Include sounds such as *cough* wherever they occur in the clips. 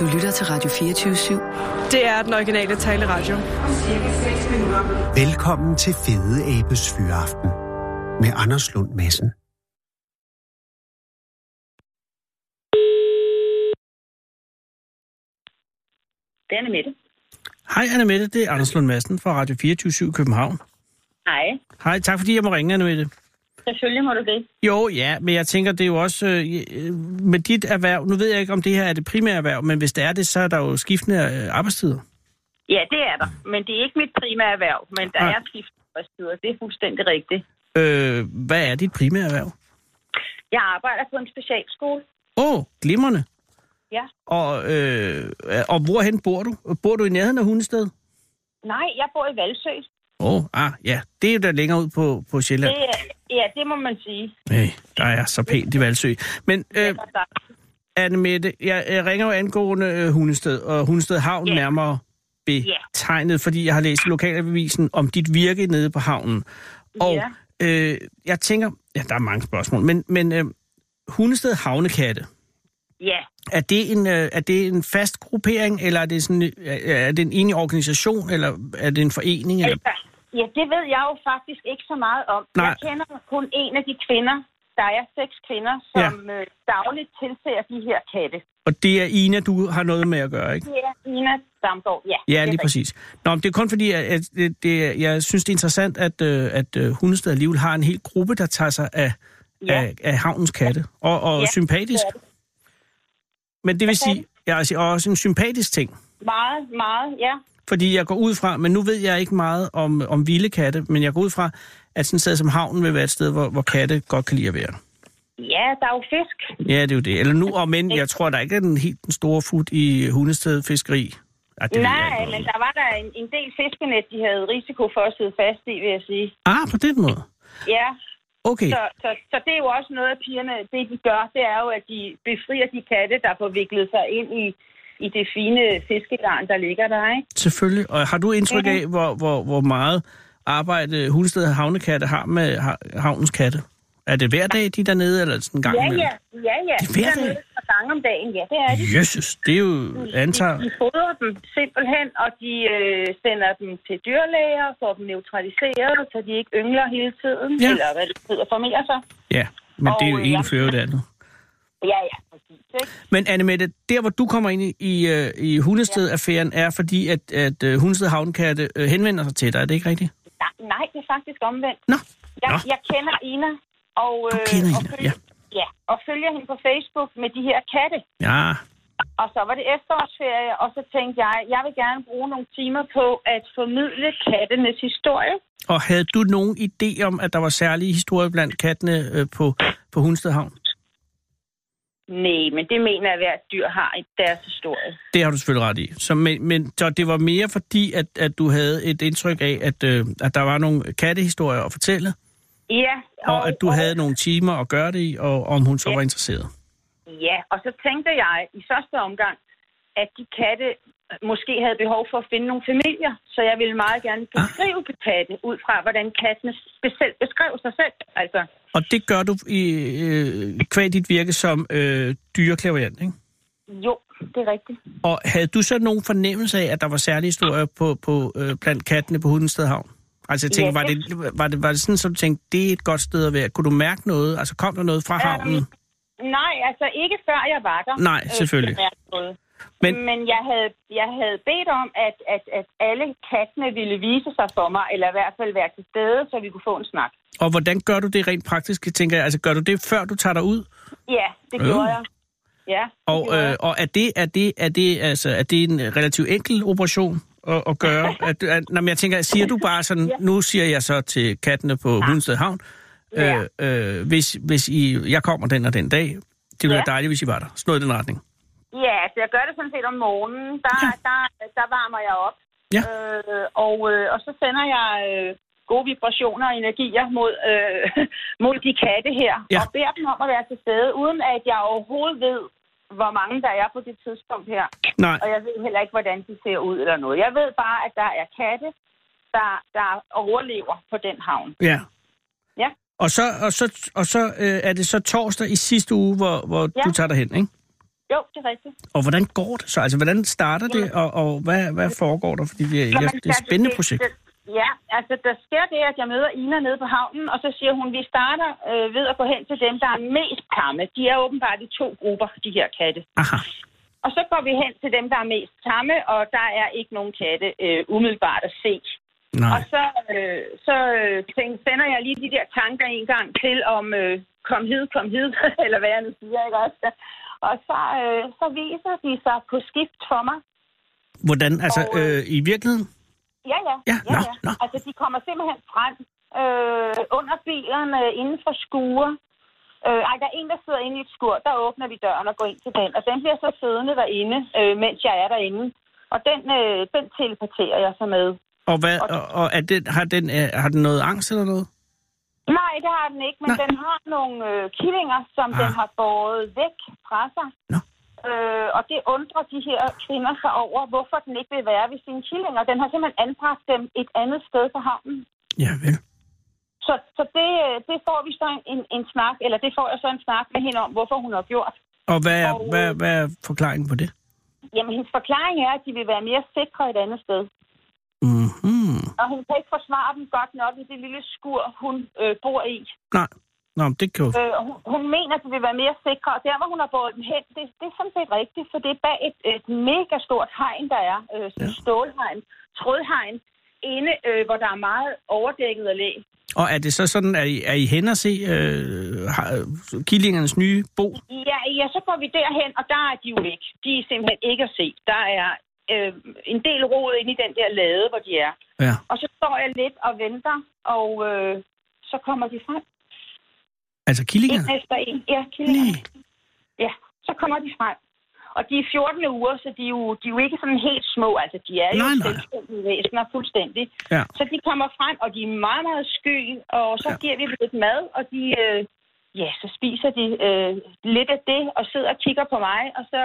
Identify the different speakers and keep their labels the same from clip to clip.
Speaker 1: Du lytter til Radio 24-7.
Speaker 2: Det er den originale taleradio.
Speaker 3: Velkommen til Fede Abes Fyraften med Anders Lund Madsen.
Speaker 4: Det er Annemette.
Speaker 5: Hej Annemette, det er Anders Lund Madsen fra Radio 24 København.
Speaker 4: Hej.
Speaker 5: Hej, tak fordi jeg må ringe, Annemette.
Speaker 4: Selvfølgelig må du det.
Speaker 5: Jo, ja, men jeg tænker, det er jo også øh, med dit erhverv. Nu ved jeg ikke, om det her er det primære erhverv, men hvis det er det, så er der jo skiftende øh, arbejdstider.
Speaker 4: Ja, det er der. Men det er ikke mit primære erhverv, men der
Speaker 5: Nej.
Speaker 4: er skiftende arbejdstider. Det er fuldstændig rigtigt.
Speaker 5: Øh, hvad er dit primære erhverv?
Speaker 4: Jeg arbejder på en specialskole.
Speaker 5: Åh, oh, glimrende.
Speaker 4: Ja.
Speaker 5: Og, øh, og hvorhen bor du? Bor du i nærheden af Hundested?
Speaker 4: Nej, jeg bor i Valsø.
Speaker 5: Åh, oh, ah, ja. Det er jo da længere ud på, på
Speaker 4: Ja.
Speaker 5: Sjælland.
Speaker 4: Det, er- ja, det må man sige.
Speaker 5: Hey, der er så pænt i Valsø. Men øh, Anne-Mette, jeg, jeg ringer jo angående øh, Hundested, og Hundested Havn
Speaker 4: Ja.
Speaker 5: yeah. nærmere betegnet, yeah. fordi jeg har læst i lokalavisen om dit virke nede på havnen. Og øh, jeg tænker, ja, der er mange spørgsmål, men, men øh, Hundested Havnekatte,
Speaker 4: Ja,
Speaker 5: er det, en, øh, er det en fast gruppering, eller er det, sådan, øh, er det en enig organisation, eller er det en forening? Eller?
Speaker 4: altså, ja, det ved jeg jo faktisk ikke så meget om.
Speaker 5: Nej.
Speaker 4: Jeg kender kun en af de kvinder. Der er seks kvinder, som ja. dagligt tilser de her katte.
Speaker 5: Og det er Ina, du har noget med at gøre, ikke?
Speaker 4: Det er Ina Damgaard. Ja, det
Speaker 5: Ja,
Speaker 4: er
Speaker 5: lige
Speaker 4: rigtigt.
Speaker 5: præcis. Nå, men det er kun fordi, at, at det, det, jeg synes, det er interessant, at, øh, at øh, Hundested alligevel har en hel gruppe, der tager sig
Speaker 4: Ja.
Speaker 5: af, ja. af, af havnens katte. Og, og
Speaker 4: Ja,
Speaker 5: ja, sympatisk.
Speaker 4: det er
Speaker 5: Men det vil
Speaker 4: Hvad
Speaker 5: sige, ja, altså, og også en sympatisk ting.
Speaker 4: Meget, meget, ja.
Speaker 5: Fordi jeg går ud fra, men nu ved jeg ikke meget om, om vilde katte, men jeg går ud fra, at sådan et sted som havnen vil være et sted, hvor, hvor katte godt kan lide at være.
Speaker 4: Ja, der er jo fisk.
Speaker 5: Ja, det er jo det. Eller nu, og men jeg tror, der ikke er den helt den store fut i Hundested Fiskeri. Ej, det ved jeg
Speaker 4: Nej,
Speaker 5: ikke. altså.
Speaker 4: men der var der en, en del fiskenet, de havde risiko for at sidde fast i, vil jeg sige.
Speaker 5: Ah, på den måde.
Speaker 4: Ja,
Speaker 5: Okay.
Speaker 4: så, så, så det er jo også noget af pigerne, det de gør, det er jo, at de befrier de katte, der får viklet sig ind i, i det fine fiskegarn, der ligger der, ikke?
Speaker 5: Selvfølgelig. Og har du indtryk af, hvor, hvor, hvor meget arbejde Hundested Havnekatte har med ha- havnens katte? Er det hver dag, de er dernede, eller er det sådan en gang
Speaker 4: Ja,
Speaker 5: imellem?
Speaker 4: ja, ja, ja.
Speaker 5: Det er hver
Speaker 4: Der
Speaker 5: dag.
Speaker 4: nede et par gange om dagen, ja, det er det.
Speaker 5: Jesus, det er jo antager...
Speaker 4: De, de fodrer dem simpelthen, og de øh, sender dem til dyrlæger, får dem neutraliseret, så de ikke yngler hele tiden,
Speaker 5: Ja.
Speaker 4: eller hvad det hedder, formerer sig.
Speaker 5: Ja, men det er jo
Speaker 4: Og,
Speaker 5: en
Speaker 4: ja.
Speaker 5: fører det andet.
Speaker 4: Ja, ja, præcis, ikke?
Speaker 5: Men Annemette, der hvor du kommer ind i, i, øh, i Hundested-affæren, er fordi, at, at øh, Hundested Havnekatte øh, henvender sig til dig. Er det ikke rigtigt?
Speaker 4: Nej, nej, det er faktisk omvendt.
Speaker 5: Nå,
Speaker 4: Jeg,
Speaker 5: Nå.
Speaker 4: jeg kender Ina. Og, øh,
Speaker 5: Du kender
Speaker 4: og
Speaker 5: Ina,
Speaker 4: følger, ja. Og følger hende på Facebook med de her katte.
Speaker 5: ja.
Speaker 4: Og så var det efterårsferie, og så tænkte jeg, jeg vil gerne bruge nogle timer på at formidle kattenes historie.
Speaker 5: Og havde du nogen idé om, at der var særlige historier blandt kattene øh, på, på Hundested Havn?
Speaker 4: Nej, men det mener jeg, at hvert dyr har i deres historie.
Speaker 5: Det har du selvfølgelig ret i. Så, men, men så det var mere fordi, at, at du havde et indtryk af, at, øh, at der var nogle kattehistorier at fortælle,
Speaker 4: Ja,
Speaker 5: og, og at du
Speaker 4: og-
Speaker 5: havde nogle timer at gøre det i, og om hun så
Speaker 4: Ja.
Speaker 5: var interesseret.
Speaker 4: Ja, og så tænkte jeg i første omgang, at de katte måske havde behov for at finde nogle familier, så jeg ville meget
Speaker 5: Ah.
Speaker 4: gerne beskrive katte ud fra, hvordan kattene selv beskrev sig selv. Altså,
Speaker 5: Og det gør du i øh, kvad dit virke som øh, dyreklaverant, ikke?
Speaker 4: Jo, det er rigtigt.
Speaker 5: Og havde du så nogen fornemmelse af, at der var særlige historier på, på, øh, blandt kattene på Hundested Havn? Altså jeg tænker,
Speaker 4: Ja,
Speaker 5: var, det, var, det, var det sådan, så du tænkte, det er et godt sted at være? Kunne du mærke noget? Altså kom der noget fra havnen?
Speaker 4: Øhm, Nej, altså ikke før jeg var der.
Speaker 5: Nej, selvfølgelig.
Speaker 4: Øh, jeg noget. men
Speaker 5: Men-
Speaker 4: men jeg, havde, jeg havde bedt om, at, at, at alle kattene ville vise sig for mig, eller i hvert fald være til stede, så vi kunne få en snak.
Speaker 5: Og hvordan gør du det rent praktisk? Jeg tænker, altså gør du det, før du tager dig ud?
Speaker 4: Ja, det
Speaker 5: Øh.
Speaker 4: gjorde jeg. Ja, det
Speaker 5: Og,
Speaker 4: gjorde
Speaker 5: øh,
Speaker 4: jeg.
Speaker 5: og er, det, er, det, er, det, altså, er det en relativt enkel operation at, at gøre?
Speaker 4: *laughs*
Speaker 5: At, at, når jeg tænker, siger du bare sådan, nu siger jeg så til kattene på Hundested Havn,
Speaker 4: Ja.
Speaker 5: øh, øh, hvis, hvis I, jeg kommer den og den dag, det ville
Speaker 4: Ja.
Speaker 5: være dejligt, hvis I var der. Sådan noget i den retning.
Speaker 4: Ja, altså jeg gør det sådan set om morgenen. Der, ja. der, der varmer jeg op.
Speaker 5: Ja.
Speaker 4: Øh, og, øh, og så sender jeg øh, gode vibrationer og energier mod, øh, *laughs* mod de katte her.
Speaker 5: Ja.
Speaker 4: Og beder dem om at være til stede, uden at jeg overhovedet ved, hvor mange der er på det tidspunkt her.
Speaker 5: Nej,
Speaker 4: Og jeg ved heller ikke, hvordan de ser ud eller noget. Jeg ved bare, at der er katte, der, der overlever på den havn.
Speaker 5: ja.
Speaker 4: Ja.
Speaker 5: Og så, og så, og så øh, er det så torsdag i sidste uge, hvor, hvor
Speaker 4: Ja.
Speaker 5: du tager dig hen, ikke?
Speaker 4: Jo, det er rigtigt.
Speaker 5: Og hvordan går det så? Altså, hvordan starter det, og, og hvad, hvad foregår der? Fordi det, er,
Speaker 4: Jamen,
Speaker 5: jeg, det er et
Speaker 4: altså,
Speaker 5: spændende
Speaker 4: det-
Speaker 5: projekt.
Speaker 4: det- Ja, altså der sker det, at jeg møder Ina nede på havnen, og så siger hun, vi starter øh, ved at gå hen til dem, der er mest tamme. De er åbenbart i to grupper, de her katte.
Speaker 5: Aha.
Speaker 4: Og så går vi hen til dem, der er mest tamme, og der er ikke nogen katte øh, umiddelbart at se. Og
Speaker 5: Nej.
Speaker 4: så, øh, så øh, tænker, sender jeg lige de der tanker en gang til om, øh, kom hid, kom hid, *laughs* eller hvad jeg nu siger, ikke også? Og så, øh, så viser de sig på skift for mig.
Speaker 5: Hvordan? Altså,
Speaker 4: og, øh,
Speaker 5: øh, i virkeligheden?
Speaker 4: Ja, ja.
Speaker 5: Ja, nå, nå.
Speaker 4: Altså, de kommer simpelthen frem øh, under bilerne, inden for skure. Øh, ej, der er en, der sidder inde i et skur. Der åbner vi døren og går ind til den. Og den bliver så siddende derinde, øh, mens jeg er derinde. Og den, øh, den teleporterer jeg så med.
Speaker 5: Og, hvad, og, og er den, har, den, øh, har den noget angst eller noget?
Speaker 4: Nej, det har den ikke, men
Speaker 5: Nå.
Speaker 4: Nå. den har nogle øh, killinger, som
Speaker 5: Ah.
Speaker 4: ah. den har båret væk fra sig.
Speaker 5: Nå.
Speaker 4: Øh, og det undrer de her kvinder sig over, hvorfor den ikke vil være ved sine killinger. Den har simpelthen anbragt dem et andet sted på havnen.
Speaker 5: Ja, vel.
Speaker 4: Så, så det, øh, det får vi så en, en snak, eller det får jeg så en snak med hende om, hvorfor hun har gjort.
Speaker 5: Og hvad er,
Speaker 4: Og, øh,
Speaker 5: hvad, hvad er forklaringen på det?
Speaker 4: Jamen, hendes forklaring er, at de vil være mere sikre et andet sted.
Speaker 5: Mm-hmm.
Speaker 4: Og hun kan ikke forsvare dem godt nok i det lille skur, hun øh, bor i.
Speaker 5: Nej. Nå, men det kan jo...
Speaker 4: Øh, og hun, hun mener, at de vil være mere sikre, og der, hvor hun har båret dem hen, det, det er sådan set rigtigt, for det er bag et, et mega stort hegn, der er, øh, sådan ja. stålhegn, trådhegn, inde, øh, hvor der er meget overdækket af læ.
Speaker 5: Og er det så sådan, at I, er I hen og se øh, har, killingernes nye bo?
Speaker 4: Ja, ja, så går vi derhen, og der er de jo ikke. De er simpelthen ikke at se. Der er øh, en del rod inde i den der lade, hvor de er.
Speaker 5: Ja.
Speaker 4: Og så står jeg lidt og venter, og øh, så kommer de frem.
Speaker 5: Altså
Speaker 4: En
Speaker 5: killingerne?
Speaker 4: efter en. Ja,
Speaker 5: Nej.
Speaker 4: killingerne. Ja, så kommer de frem. Og de er 14 uger, så de er jo, de er jo ikke sådan helt små. Altså, de er
Speaker 5: Nej,
Speaker 4: jo
Speaker 5: nej.
Speaker 4: selvstændige væsener fuldstændig.
Speaker 5: Ja.
Speaker 4: Så de kommer frem, og de er meget, meget sky, og så
Speaker 5: Ja.
Speaker 4: ja. giver vi dem lidt mad, og de, øh, ja, så spiser de øh, lidt af det, og sidder og kigger på mig, og så,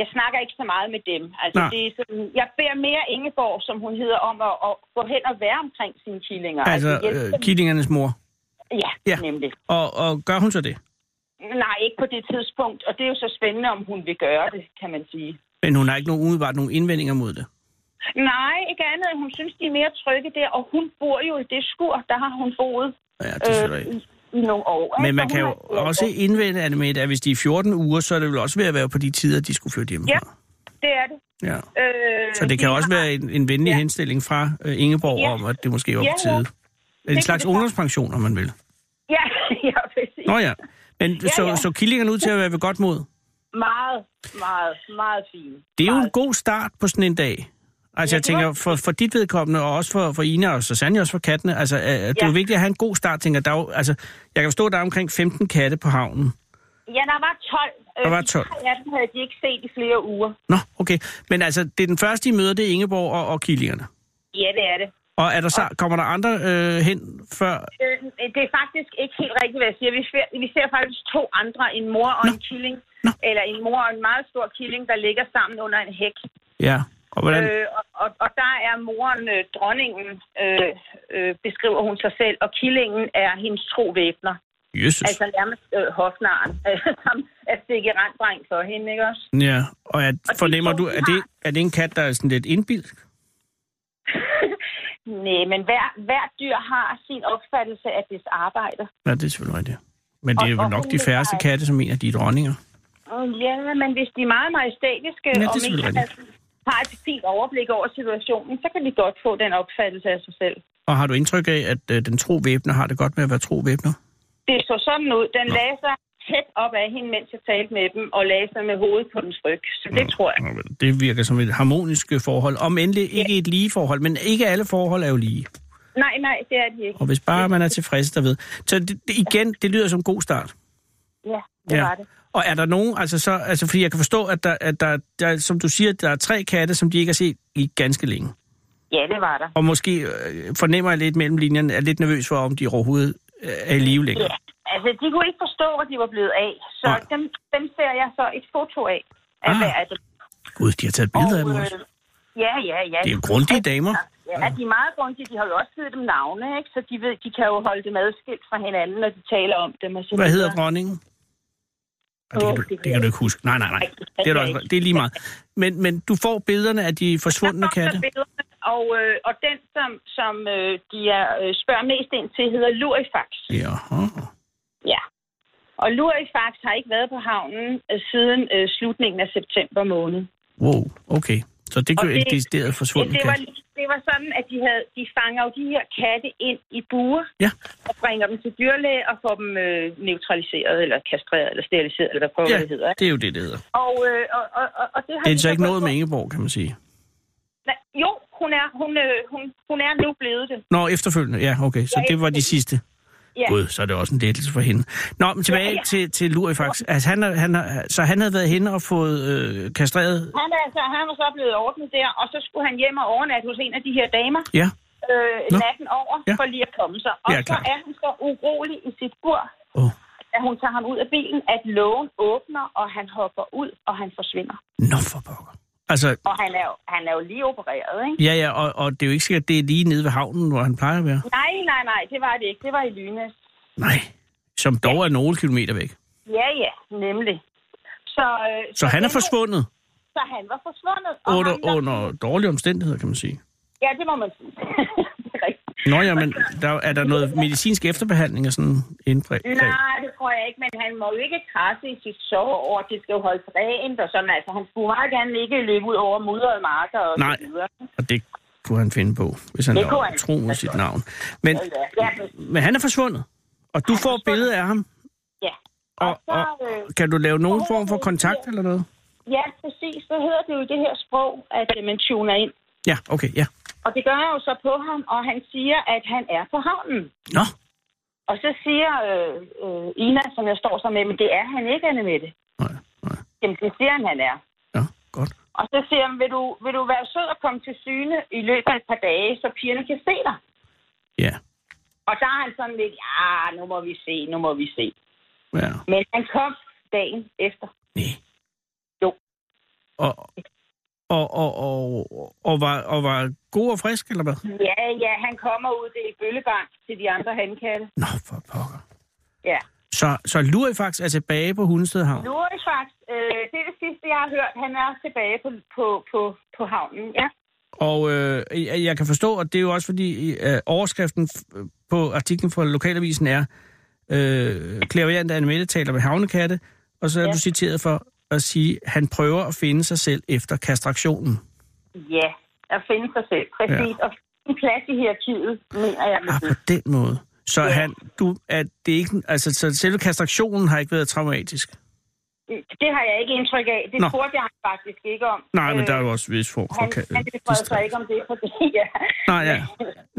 Speaker 4: jeg snakker ikke så meget med dem. Altså,
Speaker 5: Nej.
Speaker 4: det er sådan, jeg beder mere Ingeborg, som hun hedder, om at, at gå hen og være omkring sine killinger.
Speaker 5: Altså
Speaker 4: hjælpe
Speaker 5: øh,
Speaker 4: dem.
Speaker 5: killingernes mor.
Speaker 4: ja,
Speaker 5: ja.
Speaker 4: ja, nemlig.
Speaker 5: Og, og gør hun så det?
Speaker 4: Nej, ikke på det tidspunkt, og det er jo så spændende, om hun vil gøre det, kan man sige.
Speaker 5: Men hun har ikke nogen umiddelbart nogen indvendinger mod det.
Speaker 4: Nej, ikke andet end hun synes, de er mere trygge der, og hun bor jo i det skur, der har hun boet
Speaker 5: Ja, det er
Speaker 4: øh,
Speaker 5: selvfølgelig
Speaker 4: i,
Speaker 5: ikke.
Speaker 4: i nogle år. ikke?
Speaker 5: Men man
Speaker 4: Så
Speaker 5: kan
Speaker 4: hun
Speaker 5: jo
Speaker 4: har-
Speaker 5: også indvende, Anne Mette, at hvis de er 14 uger, så er det vel også ved at være på de tider, de skulle flytte hjemmefra.
Speaker 4: Ja, det er det.
Speaker 5: Ja.
Speaker 4: Øh,
Speaker 5: Så det kan
Speaker 4: de
Speaker 5: også
Speaker 4: har-
Speaker 5: være en, en venlig
Speaker 4: Ja.
Speaker 5: henstilling fra øh, Ingeborg
Speaker 4: Ja.
Speaker 5: om, at det måske var
Speaker 4: Ja,
Speaker 5: på
Speaker 4: ja.
Speaker 5: tide. En
Speaker 4: kan
Speaker 5: slags
Speaker 4: det være.
Speaker 5: ungdomspension, om man vil.
Speaker 4: *laughs* Ja, ja, præcis.
Speaker 5: Nå ja. Men så,
Speaker 4: ja.
Speaker 5: så killingerne ud til at være ved godt mod.
Speaker 4: Meget, meget, meget fint.
Speaker 5: Det er jo en
Speaker 4: Meget.
Speaker 5: god start på sådan en dag. Altså,
Speaker 4: Ja,
Speaker 5: jeg
Speaker 4: det var-
Speaker 5: tænker, for, for dit vedkommende, og også for, for Ina, og så sandelig også for kattene, altså, øh, det er jo
Speaker 4: Ja.
Speaker 5: vigtigt at have en god start, tænker jeg. der er jo, altså, jeg kan forstå, at der er omkring 15 katte på havnen.
Speaker 4: Ja, der var 12. Øh,
Speaker 5: Der var
Speaker 4: de
Speaker 5: 12.
Speaker 4: tre af dem havde de ikke set i flere uger.
Speaker 5: Nå, okay. Men altså, det er den første, I møder, det er Ingeborg og, og killingerne.
Speaker 4: Ja, det er det.
Speaker 5: Og er der så, kommer der andre øh, hen før?
Speaker 4: Øh, det er faktisk ikke helt rigtigt, hvad jeg siger. Vi ser, vi ser faktisk to andre, en mor og Nå. en killing.
Speaker 5: Nå.
Speaker 4: Eller en mor og en meget stor killing, der ligger sammen under en hæk.
Speaker 5: Ja. Og hvordan? Øh,
Speaker 4: Øh, og, og, og der er moren øh, dronningen, øh, øh, beskriver hun sig selv, og killingen er hendes tro væbner.
Speaker 5: Jesus.
Speaker 4: Altså nærmest øh, hofnaren, *laughs* øh, som er stikket rendbrændt for hende, ikke også?
Speaker 5: ja. Og jeg
Speaker 4: og de
Speaker 5: fornemmer
Speaker 4: to,
Speaker 5: du,
Speaker 4: de
Speaker 5: er det, er det en kat, der er sådan lidt indbilsk?
Speaker 4: Nej, men hver, hver dyr har sin opfattelse af dets arbejde.
Speaker 5: Ja, det er selvfølgelig rigtigt. Men det er
Speaker 4: Og-
Speaker 5: jo
Speaker 4: og
Speaker 5: nok
Speaker 4: hun
Speaker 5: de
Speaker 4: er-
Speaker 5: færreste katte, som mener, de er dronninger.
Speaker 4: Åh, Ja, men hvis de er meget majestætiske
Speaker 5: Ja, det er
Speaker 4: og
Speaker 5: selvfølgelig
Speaker 4: mener, at de har et fint overblik over situationen, så kan de godt få den opfattelse af sig selv.
Speaker 5: Og har du indtryk af, at øh, den tro væbner har det godt med at være tro væbner?
Speaker 4: Det så sådan ud. Den lagde sig tæt op af hende, mens jeg talte med dem, og lagde sig med hovedet på dens ryg. Så det tror jeg.
Speaker 5: Nå, vel, Det virker som et harmonisk øh, forhold. Om endelig ikke et lige forhold, men ikke alle forhold er jo lige.
Speaker 4: Nej, nej, det er de ikke.
Speaker 5: Og hvis bare man er tilfreds derved. Så det, det, igen, det lyder som en god start.
Speaker 4: Ja, det var det.
Speaker 5: Og er der nogen, altså så, altså fordi jeg kan forstå, at der, at der, der, som du siger, der er tre katte, som de ikke har set i ganske længe.
Speaker 4: Ja, det var der.
Speaker 5: Og måske øh, fornemmer jeg lidt mellem linjerne, er lidt nervøs for, om de overhovedet øh, er i live længere.
Speaker 4: Ja. Altså, de kunne ikke forstå, at de var blevet af. Så
Speaker 5: Nej.
Speaker 4: dem, dem ser jeg så et foto af. af
Speaker 5: Ah,
Speaker 4: hver af dem.
Speaker 5: Gud, de har taget billeder af dem
Speaker 4: Og,
Speaker 5: også.
Speaker 4: øh, Ja, ja, ja. Altså,
Speaker 5: Det er jo grundige damer.
Speaker 4: Ja, de er meget grundige. De har jo også givet dem navne, ikke? så de, ved, de kan jo holde dem adskilt fra hinanden, når de taler om dem. Og så
Speaker 5: Hvad
Speaker 4: videre.
Speaker 5: hedder dronningen? Og det, kan du, det kan du ikke huske. Nej, nej, nej. Det er, du også, det er lige meget. Men, men du får billederne af de forsvundne katte?
Speaker 4: Billederne, og, øh, og den, som, som øh, de er, øh, spørger mest ind til, hedder Lurifax.
Speaker 5: Jaha.
Speaker 4: Ja. Og Lurifax har ikke været på havnen øh, siden øh, slutningen af september måned.
Speaker 5: Wow, okay. Så det
Speaker 4: Og
Speaker 5: gør en decideret forsvunden
Speaker 4: det,
Speaker 5: kat?
Speaker 4: var, det var sådan, at de, havde, de fanger jo de her katte ind i buer,
Speaker 5: Ja.
Speaker 4: og bringer dem til dyrlæge og får dem øh, neutraliseret, eller kastreret, eller steriliseret, eller hvad pokker
Speaker 5: Ja,
Speaker 4: det hedder. ikke?
Speaker 5: det er jo det, det hedder.
Speaker 4: Og, øh, og, og, og, og det har
Speaker 5: Det er
Speaker 4: de
Speaker 5: så ikke
Speaker 4: fået
Speaker 5: noget med
Speaker 4: på-
Speaker 5: Ingeborg, kan man sige.
Speaker 4: Nej, Jo, hun er, hun, øh, hun, hun er nu blevet det.
Speaker 5: Nå, efterfølgende. Ja, okay. Så
Speaker 4: Ja,
Speaker 5: det var de sidste.
Speaker 4: Ja.
Speaker 5: Gud, så er det også en lettelse for hende. Nå, men tilbage
Speaker 4: Ja, ja.
Speaker 5: til, til Lurifax. Altså, han, er- han, er- så han havde været hende og fået øh, kastreret?
Speaker 4: Han, er, altså, han var så blevet ordnet der, og så skulle han hjem og overnatte hos en af de her damer
Speaker 5: Ja.
Speaker 4: øh,
Speaker 5: Nå.
Speaker 4: natten over,
Speaker 5: Ja.
Speaker 4: ja. for lige at komme sig. Og
Speaker 5: Ja,
Speaker 4: ja, så
Speaker 5: klart.
Speaker 4: er han så urolig i sit bur,
Speaker 5: Oh.
Speaker 4: at hun tager ham ud af bilen, at lågen åbner, og han hopper ud, og han forsvinder.
Speaker 5: Nå, for pokker. Altså,
Speaker 4: Og han er jo, han er jo lige opereret, ikke?
Speaker 5: ja, ja, og, og det er jo ikke sikkert, at det er lige nede ved havnen, hvor han plejer at være.
Speaker 4: Nej, nej, nej, det var det ikke. Det var i Lynes.
Speaker 5: Nej. Som dog er nogle kilometer væk.
Speaker 4: Ja, ja, nemlig. Så, øh,
Speaker 5: Så han er
Speaker 4: den her-
Speaker 5: forsvundet
Speaker 4: Så han var forsvundet.
Speaker 5: under,
Speaker 4: ham, der-
Speaker 5: under dårlige omstændigheder, kan man sige.
Speaker 4: Ja, det må man sige. *laughs* det er rigtigt.
Speaker 5: Nå ja, men der, er der noget medicinsk efterbehandling og sådan indbredt?
Speaker 4: Nej, det tror jeg ikke, men han må jo ikke krasse i sit soveår. Det skal jo holdes rent og sådan. Altså, han skulle meget gerne ikke løbe ud over mudrede marker og
Speaker 5: Nej.
Speaker 4: så videre.
Speaker 5: Og det kunne han finde på, hvis han
Speaker 4: Det
Speaker 5: var
Speaker 4: kunne han.
Speaker 5: tro mod sit navn. Men,
Speaker 4: Ja, ja.
Speaker 5: men han er forsvundet, og du får billede af ham.
Speaker 4: ja. Og
Speaker 5: Og,
Speaker 4: så,
Speaker 5: og,
Speaker 4: øh,
Speaker 5: kan du lave nogen form for kontakt eller noget?
Speaker 4: ja, præcis. Så hedder det jo i det her sprog, at øh, man tuner ind.
Speaker 5: Ja, okay, ja.
Speaker 4: Og det gør jeg jo så på ham, og han siger, at han er på havnen.
Speaker 5: Nå,
Speaker 4: Og så siger øh, øh, Ina, som jeg står så med, men det er han ikke, Anne Mette.
Speaker 5: nej, nej.
Speaker 4: Jamen, det siger han, han er.
Speaker 5: Ja, godt.
Speaker 4: Og så siger han, vil du, vil du være sød og komme til syne i løbet af et par dage, så pigerne kan se dig?
Speaker 5: Ja,
Speaker 4: Og der er han sådan lidt, ja, nu må vi se, nu må vi se.
Speaker 5: ja.
Speaker 4: Men han kom dagen efter.
Speaker 5: Nej.
Speaker 4: Jo.
Speaker 5: Og, og, og, og, og, var, og var god og frisk, eller hvad?
Speaker 4: Ja, ja, han kommer ud til bøllebank til de andre handkatte.
Speaker 5: Nå, for pokker.
Speaker 4: Ja.
Speaker 5: Så, så Lurifax er altså tilbage på Hundested Havn?
Speaker 4: Nu er det faktisk, øh, det er det sidste, jeg har hørt. Han er tilbage på, på, på, på havnen, ja.
Speaker 5: Og øh, jeg jeg kan forstå, at det er jo også fordi øh, overskriften f- på artiklen fra Lokalavisen er øh, Klaverjant Annemette taler med havnekatte, og så er ja.
Speaker 4: Ja.
Speaker 5: du citeret for at sige, at han prøver at finde sig selv efter kastraktionen.
Speaker 4: Ja, at finde sig selv, præcis. Ja. Og finde en plads i hierarkiet, mener jeg.
Speaker 5: *laughs* Ah, på den måde. Så ja.
Speaker 4: Mhm. Ja.
Speaker 5: han, du, at det ikke, altså, så selve kastraktionen har ikke været traumatisk?
Speaker 4: Det har jeg ikke indtryk af. Det
Speaker 5: Nå.
Speaker 4: spurgte jeg ham faktisk ikke om.
Speaker 5: Nej, men
Speaker 4: Øh,
Speaker 5: der er jo også vis form for...
Speaker 4: Han,
Speaker 5: ka-
Speaker 4: han befrede sig
Speaker 5: distræ-
Speaker 4: ikke om det, fordi... *laughs* Ja.
Speaker 5: Nej, ja.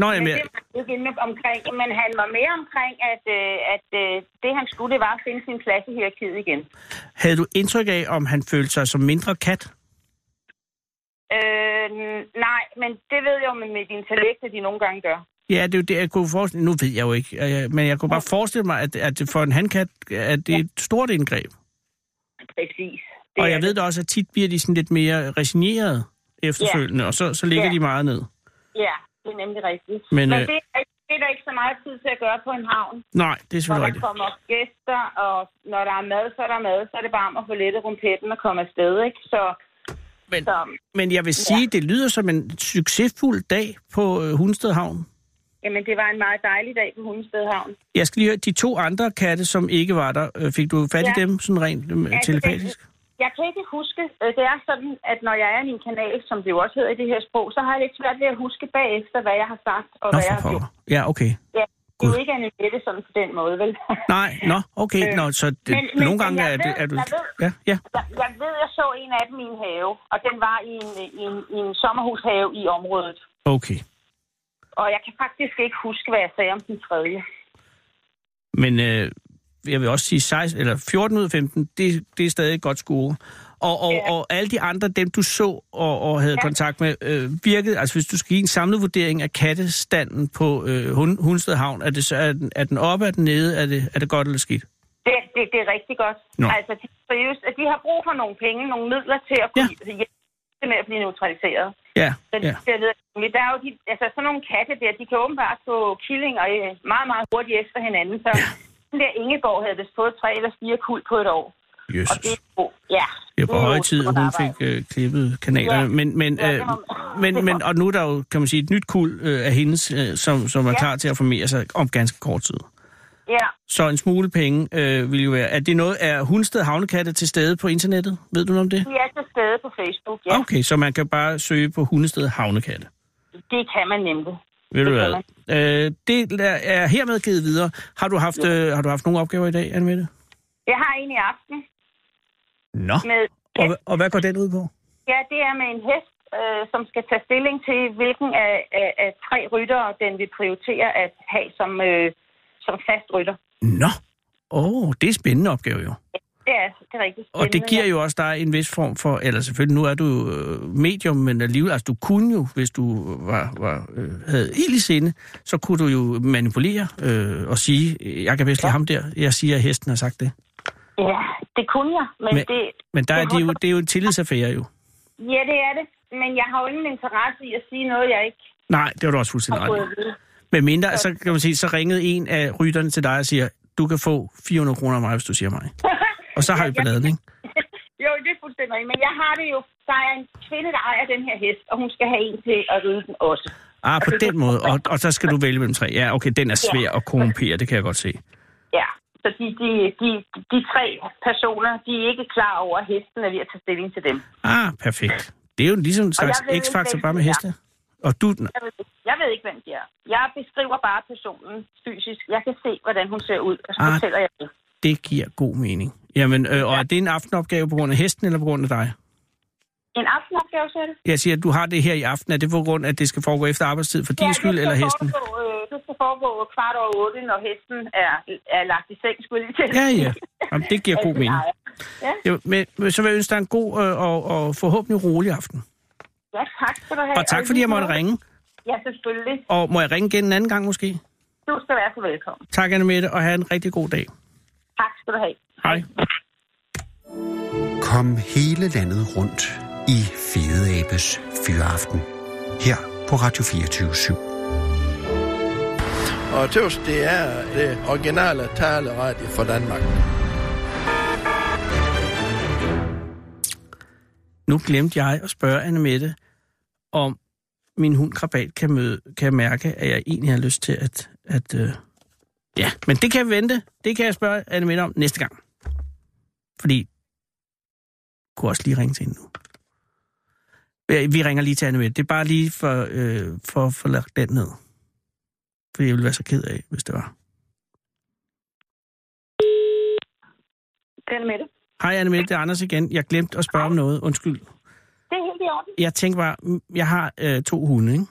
Speaker 5: Nå,
Speaker 4: Men
Speaker 5: jamen,
Speaker 4: det var han ikke inde omkring, men han var mere omkring, at, øh, at øh, det han skulle, det var at finde sin plads i hierarkiet igen.
Speaker 5: havde du indtryk af, om han følte sig som mindre kat?
Speaker 4: Øh, nej, men det ved jeg jo med mit intellekt, at de nogle gange gør.
Speaker 5: Ja, det er jo det, jeg kunne forestille Nu ved jeg jo ikke, øh, men jeg kunne bare forestille mig, at, at for en handkat er det et stort indgreb.
Speaker 4: Præcis. Det
Speaker 5: Og
Speaker 4: er
Speaker 5: jeg ved da også, at tit bliver de sådan lidt mere resigneret efterfølgende, og så, så ligger
Speaker 4: Ja.
Speaker 5: de meget ned.
Speaker 4: Ja, det er nemlig rigtigt.
Speaker 5: Men,
Speaker 4: Men, men
Speaker 5: øh,
Speaker 4: det, er, det er der ikke så meget tid til at gøre på en havn.
Speaker 5: Nej, det er
Speaker 4: Når
Speaker 5: selvfølgelig
Speaker 4: der
Speaker 5: rigtigt.
Speaker 4: kommer gæster, og når der er mad, så er der mad. Så er det bare om at få lettet rumpetten og komme afsted, ikke? Så,
Speaker 5: Men,
Speaker 4: så
Speaker 5: men jeg vil sige, det lyder som en succesfuld dag på øh, Hundested Havn.
Speaker 4: jamen, det var en meget dejlig dag på Hundested Havn.
Speaker 5: Jeg skal lige høre, de to andre katte, som ikke var der, øh, fik du fat i
Speaker 4: Ja.
Speaker 5: dem sådan rent øh,
Speaker 4: Altså,
Speaker 5: telepatisk?
Speaker 4: Jeg kan ikke huske, øh, det er sådan, at når jeg er i min kanal, som det jo også hedder i det her sprog, så har jeg lidt svært ved at huske bagefter, hvad jeg har sagt og
Speaker 5: Nå,
Speaker 4: hvad jeg
Speaker 5: for
Speaker 4: har gjort.
Speaker 5: pokker. Ja, okay.
Speaker 4: Ja, det er
Speaker 5: Gud.
Speaker 4: jo ikke Annemette sådan på den måde, vel? *laughs*
Speaker 5: Nej, nå, okay. Nå, så det,
Speaker 4: Øh, men- men-
Speaker 5: nogle
Speaker 4: men
Speaker 5: gange
Speaker 4: jeg
Speaker 5: er, det,
Speaker 4: ved-
Speaker 5: er du...
Speaker 4: jeg ved-
Speaker 5: Ja, ja.
Speaker 4: Jeg, jeg ved, jeg så en af dem i en have, og den var i en, i en, i en sommerhushave i området.
Speaker 5: Okay.
Speaker 4: Og jeg kan faktisk ikke huske, hvad jeg sagde om den tredje.
Speaker 5: Men øh, jeg vil også sige 16, eller 14 ud af 15, det, det er stadig et godt score. Og, og, ja.
Speaker 4: Ja.
Speaker 5: og alle de andre, dem du så og, og havde ja. kontakt med, øh, virkede, altså hvis du skal give en samlet vurdering af kattestanden på øh, Hun- Hundested Havn, er, det så, er, den, er den oppe, er den nede, er det, er det godt eller skidt?
Speaker 4: Det, det, det er rigtig godt.
Speaker 5: Nå.
Speaker 4: Altså, de trives, at de har brug for nogle penge, nogle midler til at kunne hjælpe med at blive neutraliseret.
Speaker 5: Ja,
Speaker 4: Så de
Speaker 5: ja.
Speaker 4: bliver ved- Men der er jo de, altså sådan nogle katte der, de kan åbenbart få killinger øh, meget, meget hurtigt efter hinanden. Så ja. der Ingeborg havde vist fået tre eller fire kul på et år.
Speaker 5: Jesus.
Speaker 4: Og det er jo, ja.
Speaker 5: Det var på
Speaker 4: er jo
Speaker 5: høje tid,
Speaker 4: stort
Speaker 5: at hun
Speaker 4: arbejde.
Speaker 5: fik øh, klippet kanalerne.
Speaker 4: Ja.
Speaker 5: Men, men,
Speaker 4: Ja, *laughs*
Speaker 5: øh,
Speaker 4: det var-
Speaker 5: men, men, og nu er der jo, kan man sige, et nyt kul øh, af hendes, øh, som, som er
Speaker 4: Ja.
Speaker 5: klar til at formere sig om ganske kort tid.
Speaker 4: Ja,
Speaker 5: Så en smule penge øh, vil jo være. Er det noget, er Hundsted Havnekatte til stede på internettet? Ved du noget om det?
Speaker 4: de er til stede på Facebook, ja.
Speaker 5: Okay, så man kan bare søge på Hundested Havnekatte.
Speaker 4: Det kan man nemlig.
Speaker 5: Ved du
Speaker 4: Det
Speaker 5: hvad?
Speaker 4: kan
Speaker 5: Øh, det er- er hermed givet videre. Har du haft, øh, har du haft nogle opgaver i dag, Anne
Speaker 4: Jeg har en i aften
Speaker 5: Nå.
Speaker 4: med...
Speaker 5: Og, hva- og hvad går den ud på?
Speaker 4: Ja, det er med en hest, øh, som skal tage stilling til, hvilken af, af, af tre ryttere, den vil prioritere at have som, øh, som fast rytter.
Speaker 5: Nå. Åh, oh, det er en spændende opgave jo.
Speaker 4: Det er, det er rigtig
Speaker 5: Og det
Speaker 4: spændende,
Speaker 5: giver
Speaker 4: ja.
Speaker 5: jo også dig en vis form for, eller selvfølgelig, nu er du øh, medium, men alligevel, altså du kunne jo, hvis du var, var, øh, havde ild i sinde, så kunne du jo manipulere øh, og sige, øh, jeg kan bedst lide ham der, jeg siger, at hesten har sagt det.
Speaker 4: Ja, det kunne jeg, men,
Speaker 5: Men-
Speaker 4: men... det...
Speaker 5: Men der er
Speaker 4: Det
Speaker 5: det, jo,
Speaker 4: holder.
Speaker 5: det er jo en tillidsaffære jo.
Speaker 4: Ja, det er det. Men jeg har jo ingen interesse i at sige noget, jeg ikke
Speaker 5: Nej, det var du også fuldstændig
Speaker 4: har
Speaker 5: ret
Speaker 4: fået
Speaker 5: i.
Speaker 4: at vide.
Speaker 5: Men mindre, så kan man sige, så ringede en af rytterne til dig og siger, du kan få 400 kroner af mig, hvis du siger mig. Og så har vi balladen, ikke?
Speaker 4: Jo, det er fuldstændig rigtigt. Men jeg har det jo. Der er en kvinde, der ejer den her hest, og hun skal have en til at ride den også.
Speaker 5: Ah, på den måde. Og, og så skal du vælge mellem tre. Ja, okay, den er svær at korrumpere, det kan jeg godt se.
Speaker 4: Ja, så de, de, de, de tre personer, de er ikke klar over, at hesten er ved at tage stilling til dem.
Speaker 5: Ah, perfekt. Det er jo ligesom en slags
Speaker 4: jeg ved ikke,
Speaker 5: x-faktor
Speaker 4: hvem
Speaker 5: bare med
Speaker 4: det er.
Speaker 5: heste. Og du,
Speaker 4: Jeg ved, ikke- jeg ved ikke, hvem de er. Jeg beskriver bare personen fysisk. Jeg kan se, hvordan hun ser ud, og så
Speaker 5: Ah.
Speaker 4: fortæller jeg det.
Speaker 5: det giver god mening. Jamen, øh, og er det en aftenopgave på grund af hesten eller på grund af dig?
Speaker 4: En aftenopgave, så er det?
Speaker 5: Jeg siger, at du har det her i aften. Er det på grund af, at det skal foregå efter arbejdstid for din
Speaker 4: Ja, det
Speaker 5: skyld
Speaker 4: skal
Speaker 5: eller hesten?
Speaker 4: Foregå, øh, det skal foregå kvart over otte, når hesten er, er lagt i seng, skulle jeg lige til. at
Speaker 5: Ja,
Speaker 4: sige.
Speaker 5: ja. Jamen, det giver god
Speaker 4: Altså,
Speaker 5: mening.
Speaker 4: nej.
Speaker 5: Jo, men, men så vil jeg ønske dig en god øh, og, og forhåbentlig rolig aften.
Speaker 4: Ja, tak skal du have.
Speaker 5: Og tak, fordi jeg måtte ringe.
Speaker 4: Ja, selvfølgelig.
Speaker 5: Og må jeg ringe igen en anden gang måske?
Speaker 4: Du skal være så velkommen.
Speaker 5: Tak, Annemette, og have en rigtig god dag.
Speaker 4: Tak skal du have.
Speaker 5: Hej.
Speaker 3: Kom hele landet rundt i Fede Abes Fyraften. Her på Radio 24 /7.
Speaker 6: Og tøvs, det er det originale taleradio for Danmark.
Speaker 5: Nu glemte jeg at spørge Annemette, om min hund Krabat kan, møde, kan mærke, at jeg egentlig har lyst til at... at øh... Ja, men det kan vente. Det kan jeg spørge Annemette om næste gang. Fordi... Jeg kunne også lige ringe til hende nu. Ja, Vi ringer lige til Annemette. Det er bare lige for, øh, for at få lagt den ned. Fordi jeg ville være så ked af, hvis det var.
Speaker 4: Det er med det.
Speaker 5: Hej Annemette, det er Anders igen. Jeg glemte at spørge om noget. Undskyld.
Speaker 4: Det er helt i orden.
Speaker 5: Jeg tænkte bare, mm, jeg har øh, to hunde, ikke?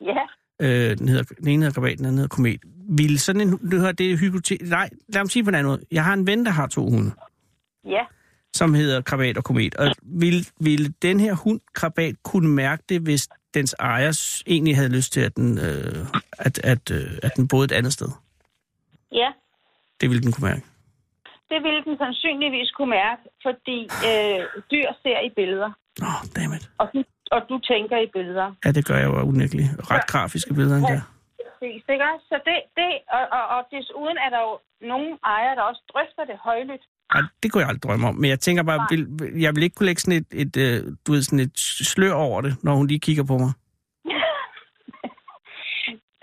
Speaker 4: Ja.
Speaker 5: Øh, den, hedder, den ene hedder Krabat, den anden hedder Komet. Vil sådan en hund, du hører, det er hypotetisk. Nej, lad mig sige på en anden måde. Jeg har en ven, der har to hunde,
Speaker 4: Ja.
Speaker 5: som hedder Krabat og Komet. Og vil, vil den her hund, Krabat, kunne mærke det, hvis dens ejer s- egentlig havde lyst til, at den, øh, at, at, øh, at den boede et andet sted?
Speaker 4: Ja.
Speaker 5: Det ville den kunne mærke.
Speaker 4: Det ville den sandsynligvis kunne mærke, fordi øh, dyr ser i billeder,
Speaker 5: Nå, oh, dammit.
Speaker 4: og du, og du tænker i billeder.
Speaker 5: Ja, det gør jeg jo unægteligt. Ret grafiske billeder, end der.
Speaker 4: Præcis, ikke også? Så det, det og, og, og desuden er der jo nogle ejere, der også drøfter det højlydt.
Speaker 5: Ej, det kunne jeg aldrig drømme om. Men jeg tænker bare, vil, vil- jeg vil ikke kunne lægge sådan et, et, øh, du ved, sådan et slør over det, når hun lige kigger på mig.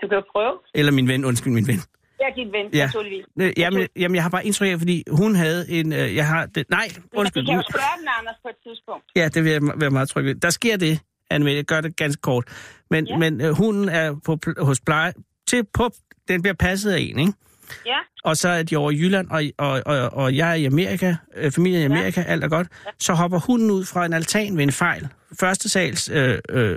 Speaker 4: Du kan jo prøve.
Speaker 5: Eller min ven, undskyld min ven.
Speaker 4: Ja, din ven,
Speaker 5: Ja.
Speaker 4: ja. naturligvis.
Speaker 5: Øh, Jamen, jamen, jeg har bare indtryk af, fordi hun havde en... Øh, jeg har det, nej,
Speaker 4: Undskyld.
Speaker 5: undskyld.
Speaker 4: Men de kan
Speaker 5: Nu,
Speaker 4: jo spørge den, Anders, på et tidspunkt.
Speaker 5: ja, det vil jeg m- være meget tryg ved. Der sker det, Anne Jeg gør det ganske kort. Men, ja.
Speaker 4: Ja.
Speaker 5: men øh, hunden er på, pl- hos pleje... Til på, den bliver passet af en, ikke?
Speaker 4: Ja,
Speaker 5: Og så er de over i Jylland, og, og, og, og jeg er i Amerika, øh, familien er i
Speaker 4: Ja.
Speaker 5: Amerika, alt er godt. Så hopper hunden ud fra en altan ved en fejl. Første sals øh, øh,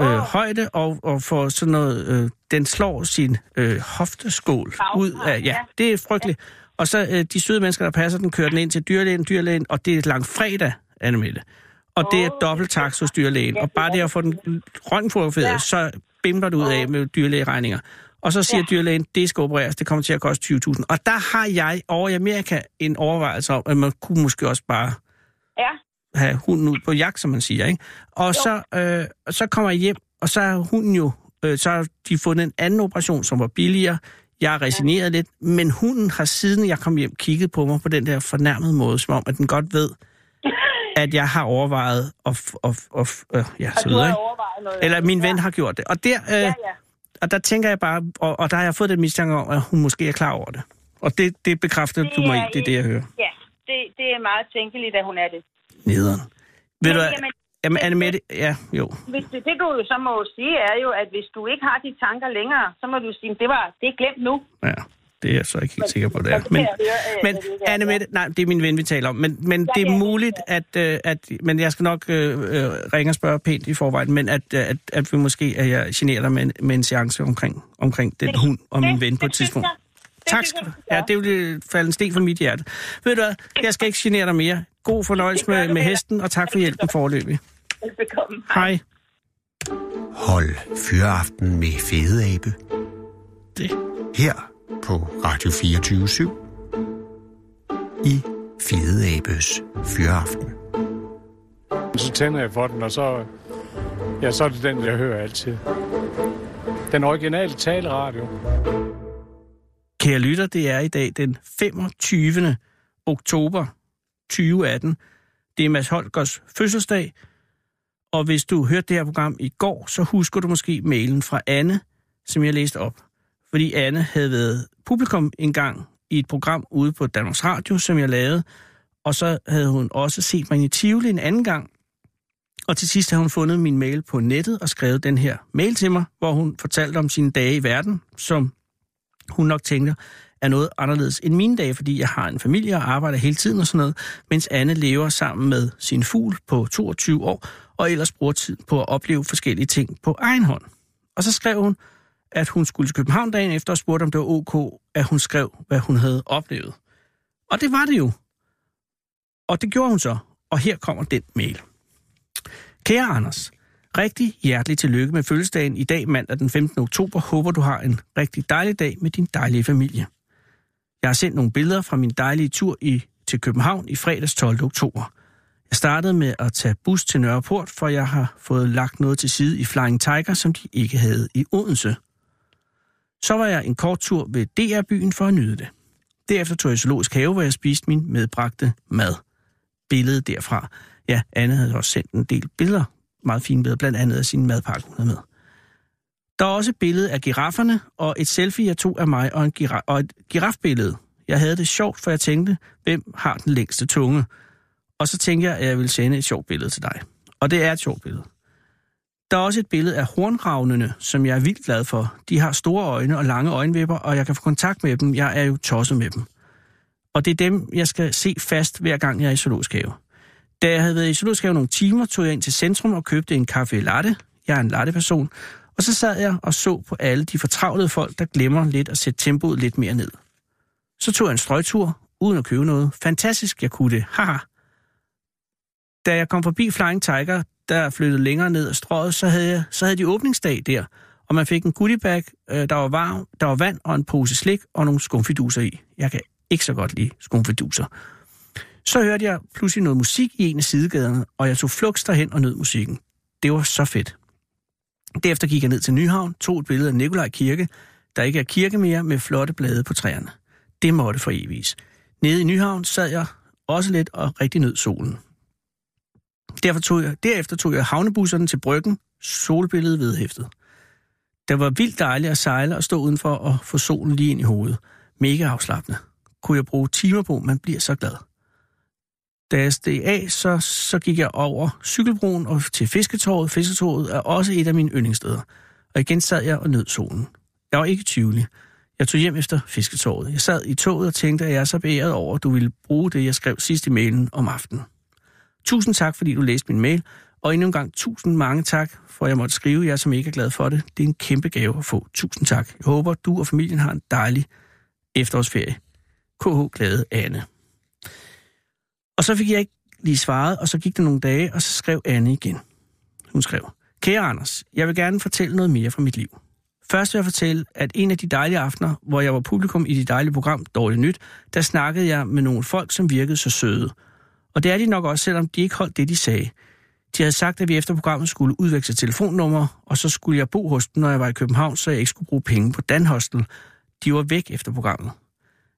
Speaker 5: øh, højde, og, og får sådan noget... Øh, den slår sin øh, hofteskål ud af... Ja,
Speaker 4: ja.
Speaker 5: det er frygteligt. Og så øh, de søde mennesker, der passer den, kører den ind til dyrlægen, dyrlægen, og det er langt fredag, Annemette. Og det er
Speaker 4: Åh,
Speaker 5: dobbelt tax hos dyrlægen.
Speaker 4: Ja,
Speaker 5: Og bare
Speaker 4: det er
Speaker 5: det at få den røntgenfotograferet, ja.
Speaker 4: Ja.
Speaker 5: så bimler det ud af med dyrlægeregninger. Og så siger ja.
Speaker 4: Ja.
Speaker 5: dyrlægen, det skal opereres, det kommer til at koste 20.000. Og der har jeg over i Amerika en overvejelse om, at man kunne måske også bare
Speaker 4: ja.
Speaker 5: have hunden ud på jagt, som man siger. Ikke? Og så, øh, og så kommer jeg hjem, og så er hunden jo, øh, så har de fundet en anden operation, som var billigere Jeg er resigneret lidt, men hunden har siden jeg kom hjem kigget på mig på den der fornærmede måde, som om at den godt ved, at jeg har overvejet og, og, og, og øh, ja,
Speaker 4: Og du
Speaker 5: så videre.
Speaker 4: har
Speaker 5: Ikke?
Speaker 4: overvejet noget.
Speaker 5: Eller
Speaker 4: andet.
Speaker 5: min ven
Speaker 4: Ja.
Speaker 5: har gjort det. Og der, øh,
Speaker 4: Ja, ja.
Speaker 5: og der tænker jeg bare, og, og der har jeg fået den mistanke om, at hun måske er klar over det. Og det, det bekræfter
Speaker 4: Det
Speaker 5: du mig i,
Speaker 4: er
Speaker 5: det er det, jeg hører.
Speaker 4: Ja, det, det er meget tænkeligt, at hun er det.
Speaker 5: Nederen. Ved
Speaker 4: Men
Speaker 5: du hvad?
Speaker 4: jamen-
Speaker 5: Jamen, Anne Mette, ja, jo.
Speaker 4: Hvis det, det, du jo så må sige, er jo, at hvis du ikke har de tanker længere, så må du sige, det var det er glemt nu.
Speaker 5: Ja, det er jeg så ikke helt sikker på, det er.
Speaker 4: det kan
Speaker 5: Men,
Speaker 4: jeg høre, øh,
Speaker 5: men
Speaker 4: at det ikke er.
Speaker 5: Anne Mette, nej, det er min ven, vi taler om. Men, men det
Speaker 4: kan
Speaker 5: er
Speaker 4: ikke
Speaker 5: muligt, at, øh, at... Men jeg skal nok øh, øh, ringe og spørge pænt i forvejen, men at, øh, at, at vi måske, at jeg generer dig med en, med en seance omkring, omkring den hund og min
Speaker 4: det-
Speaker 5: ven på et
Speaker 4: det synes
Speaker 5: tidspunkt.
Speaker 4: jeg- det
Speaker 5: Tak
Speaker 4: synes
Speaker 5: skal du
Speaker 4: jeg, du
Speaker 5: Ja,
Speaker 4: gør.
Speaker 5: det ville falde en sten fra mit hjerte. Ved du hvad, jeg skal ikke genere dig mere. God fornøjelse
Speaker 4: gør
Speaker 5: med,
Speaker 4: du
Speaker 5: med
Speaker 4: heller.
Speaker 5: hesten, og tak for hjælpen forløbig.
Speaker 4: Velbekomme.
Speaker 5: Hej.
Speaker 3: Hold Fyraften med Fede Abe.
Speaker 5: Det.
Speaker 3: Her på Radio 24 i Fede Abes Fyraften.
Speaker 7: Så tænder jeg for den, og så, ja, så er det den, jeg hører altid. Den originale taleradio.
Speaker 5: Kære lytter, det er i dag den 25. oktober 2018. Det er Mads Holgers fødselsdag. Og hvis du hørte det her program i går, så husker du måske mailen fra Anne, som jeg læste op. Fordi Anne havde været publikum engang i et program ude på Danmarks Radio, som jeg lavede. Og så havde hun også set mig i Tivoli en anden gang. Og til sidst havde hun fundet min mail på nettet og skrevet den her mail til mig, hvor hun fortalte om sine dage i verden som hun nok tænker, er noget anderledes end mine dage, fordi jeg har en familie og arbejder hele tiden og sådan noget, mens Anne lever sammen med sin fugl på 22 år, og ellers bruger tid på at opleve forskellige ting på egen hånd. Og så skrev hun, at hun skulle til København dagen efter og spurgte, om det var ok, at hun skrev, hvad hun havde oplevet. Og det var det jo. Og det gjorde hun så. Og her kommer den mail. Kære Anders, rigtig hjertelig tillykke med fødselsdagen i dag mandag den 15. oktober. Håber du har en rigtig dejlig dag med din dejlige familie. Jeg har sendt nogle billeder fra min dejlige tur i, til København i fredags 12. oktober. Jeg startede med at tage bus til Nørreport, for jeg har fået lagt noget til side i Flying Tiger, som de ikke havde i Odense. Så var jeg en kort tur ved DR-byen for at nyde det. Derefter tog jeg i Zoologisk Have, hvor jeg spiste min medbragte mad billede derfra. Ja, Anne havde også sendt en del billeder, meget fine billeder, blandt andet af sin madpakke, hun havde med. Der er også et billede af girafferne, og et selfie, jeg tog af mig, og, en gira- og et girafbillede. Jeg havde det sjovt, for jeg tænkte, hvem har den længste tunge? Og så tænkte jeg, at jeg ville sende et sjovt billede til dig. Og det er et sjovt billede. Der er også et billede af hornravnene, som jeg er vildt glad for. De har store øjne og lange øjenvipper, og jeg kan få kontakt med dem. Jeg er jo tosset med dem og det er dem, jeg skal se fast, hver gang jeg er i zoologisk have. Da jeg havde været i zoologisk have nogle timer, tog jeg ind til centrum og købte en kaffe latte. Jeg er en latteperson. Og så sad jeg og så på alle de fortravlede folk, der glemmer lidt at sætte tempoet lidt mere ned. Så tog jeg en strøgtur, uden at købe noget. Fantastisk, jeg kunne det. Haha. Da jeg kom forbi Flying Tiger, der flyttede længere ned ad strøget, så havde, jeg, så havde de åbningsdag der, og man fik en goodiebag, øh, der var varm, der var vand og en pose slik og nogle skumfiduser i. Jeg kan ikke så godt lide skumfiduser. Så hørte jeg pludselig noget musik i en af sidegaderne, og jeg tog flugs derhen og nød musikken. Det var så fedt. Derefter gik jeg ned til Nyhavn, tog et billede af Nikolaj Kirke, der ikke er kirke mere, med flotte blade på træerne. Det måtte for evigt. Nede i Nyhavn sad jeg også lidt og rigtig nød solen. Derfor tog jeg, derefter tog jeg havnebusserne til bryggen, solbilledet vedhæftet. Det var vildt dejligt at sejle og stå udenfor og få solen lige ind i hovedet. Mega afslappende. Kunne jeg bruge timer på, man bliver så glad. Da jeg steg af, så, så gik jeg over cykelbroen og til fisketorvet. Fisketorvet er også et af mine yndlingssteder. Og igen sad jeg og nød solen. Jeg var ikke tvivlig. Jeg tog hjem efter fisketorvet. Jeg sad i toget og tænkte, at jeg er så beæret over, at du ville bruge det, jeg skrev sidst i mailen om aftenen. Tusind tak, fordi du læste min mail. Og endnu en gang, tusind mange tak, for jeg måtte skrive jer, som ikke er glad for det. Det er en kæmpe gave at få. Tusind tak. Jeg håber, du og familien har en dejlig efterårsferie. KH Glade Anne. Og så fik jeg ikke lige svaret, og så gik det nogle dage, og så skrev Anne igen. Hun skrev, Kære Anders, jeg vil gerne fortælle noget mere fra mit liv. Først vil jeg fortælle, at en af de dejlige aftener, hvor jeg var publikum i dit dejlige program Dårligt Nyt, der snakkede jeg med nogle folk, som virkede så søde. Og det er de nok også, selvom de ikke holdt det, de sagde. De havde sagt, at vi efter programmet skulle udveksle telefonnumre, og så skulle jeg bo hos dem, når jeg var i København, så jeg ikke skulle bruge penge på Danhostel. de var væk efter programmet.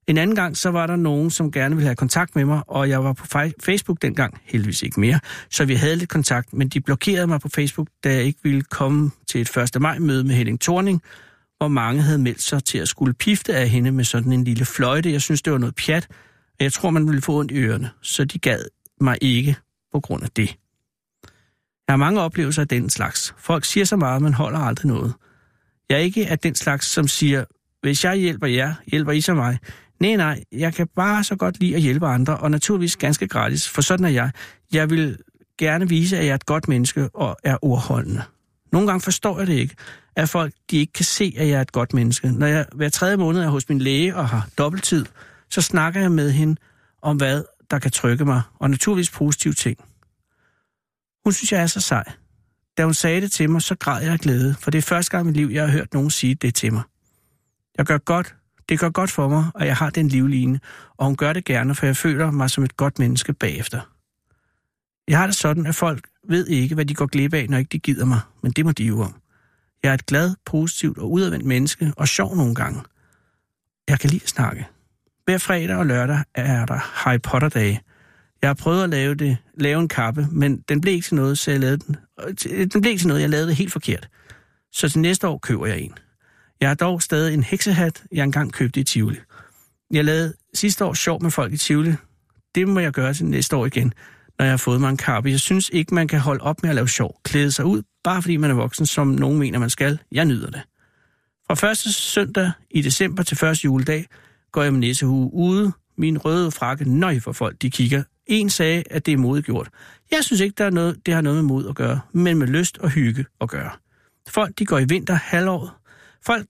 Speaker 5: En anden gang, så var der nogen, som gerne ville have kontakt med mig, og jeg var på fe- Facebook dengang, heldigvis ikke mere, så vi havde lidt kontakt, men de blokerede mig på Facebook, da jeg ikke ville komme til et 1. maj-møde med Henning Thorning, hvor mange havde meldt sig til at skulle pifte af hende med sådan en lille fløjte. Jeg synes, det var noget pjat, og jeg tror, man ville få ondt i ørerne, så de gad mig ikke på grund af det. Jeg har mange oplevelser af den slags. Folk siger så meget, men holder aldrig noget. Jeg er ikke af den slags, som siger, hvis jeg hjælper jer, hjælper I så mig. Nej, nej, jeg kan bare så godt lide at hjælpe andre, og naturligvis ganske gratis, for sådan er jeg. Jeg vil gerne vise, at jeg er et godt menneske og er ordholdende. Nogle gange forstår jeg det ikke, at folk de ikke kan se, at jeg er et godt menneske. Når jeg hver tredje måned er hos min læge og har dobbelttid, så snakker jeg med hende om, hvad der kan trykke mig, og naturligvis positive ting. Hun synes, jeg er så sej. Da hun sagde det til mig, så græd jeg af glæde, for det er første gang i mit liv, jeg har hørt nogen sige det til mig. Jeg gør godt, det gør godt for mig, og jeg har den livline, og hun gør det gerne, for jeg føler mig som et godt menneske bagefter. Jeg har det sådan, at folk ved ikke, hvad de går glip af, når ikke de gider mig, men det må de jo om. Jeg er et glad, positivt og udadvendt menneske, og sjov nogle gange. Jeg kan lide at snakke. Hver fredag og lørdag er der Harry Potter-dage. Jeg har prøvet at lave, det, lave en kappe, men den blev ikke til noget, så jeg lavede den. øh, Den blev ikke til noget, jeg lavede det helt forkert. Så til næste år køber jeg en. Jeg har dog stadig en heksehat, jeg engang købte i Tivoli. Jeg lavede sidste år sjov med folk i Tivoli. Det må jeg gøre til næste år igen, når jeg har fået mig en kappe. Jeg synes ikke, man kan holde op med at lave sjov. Klæde sig ud, bare fordi man er voksen, som nogen mener, man skal. Jeg nyder det. Fra første søndag i december til første juledag går jeg med nissehue ude. Min røde frakke nøj for folk, de kigger. En sagde, at det er modgjort. Jeg synes ikke, der er noget, det har noget med mod at gøre, men med lyst og hygge at gøre. Folk, de går i vinter halvåret. Folk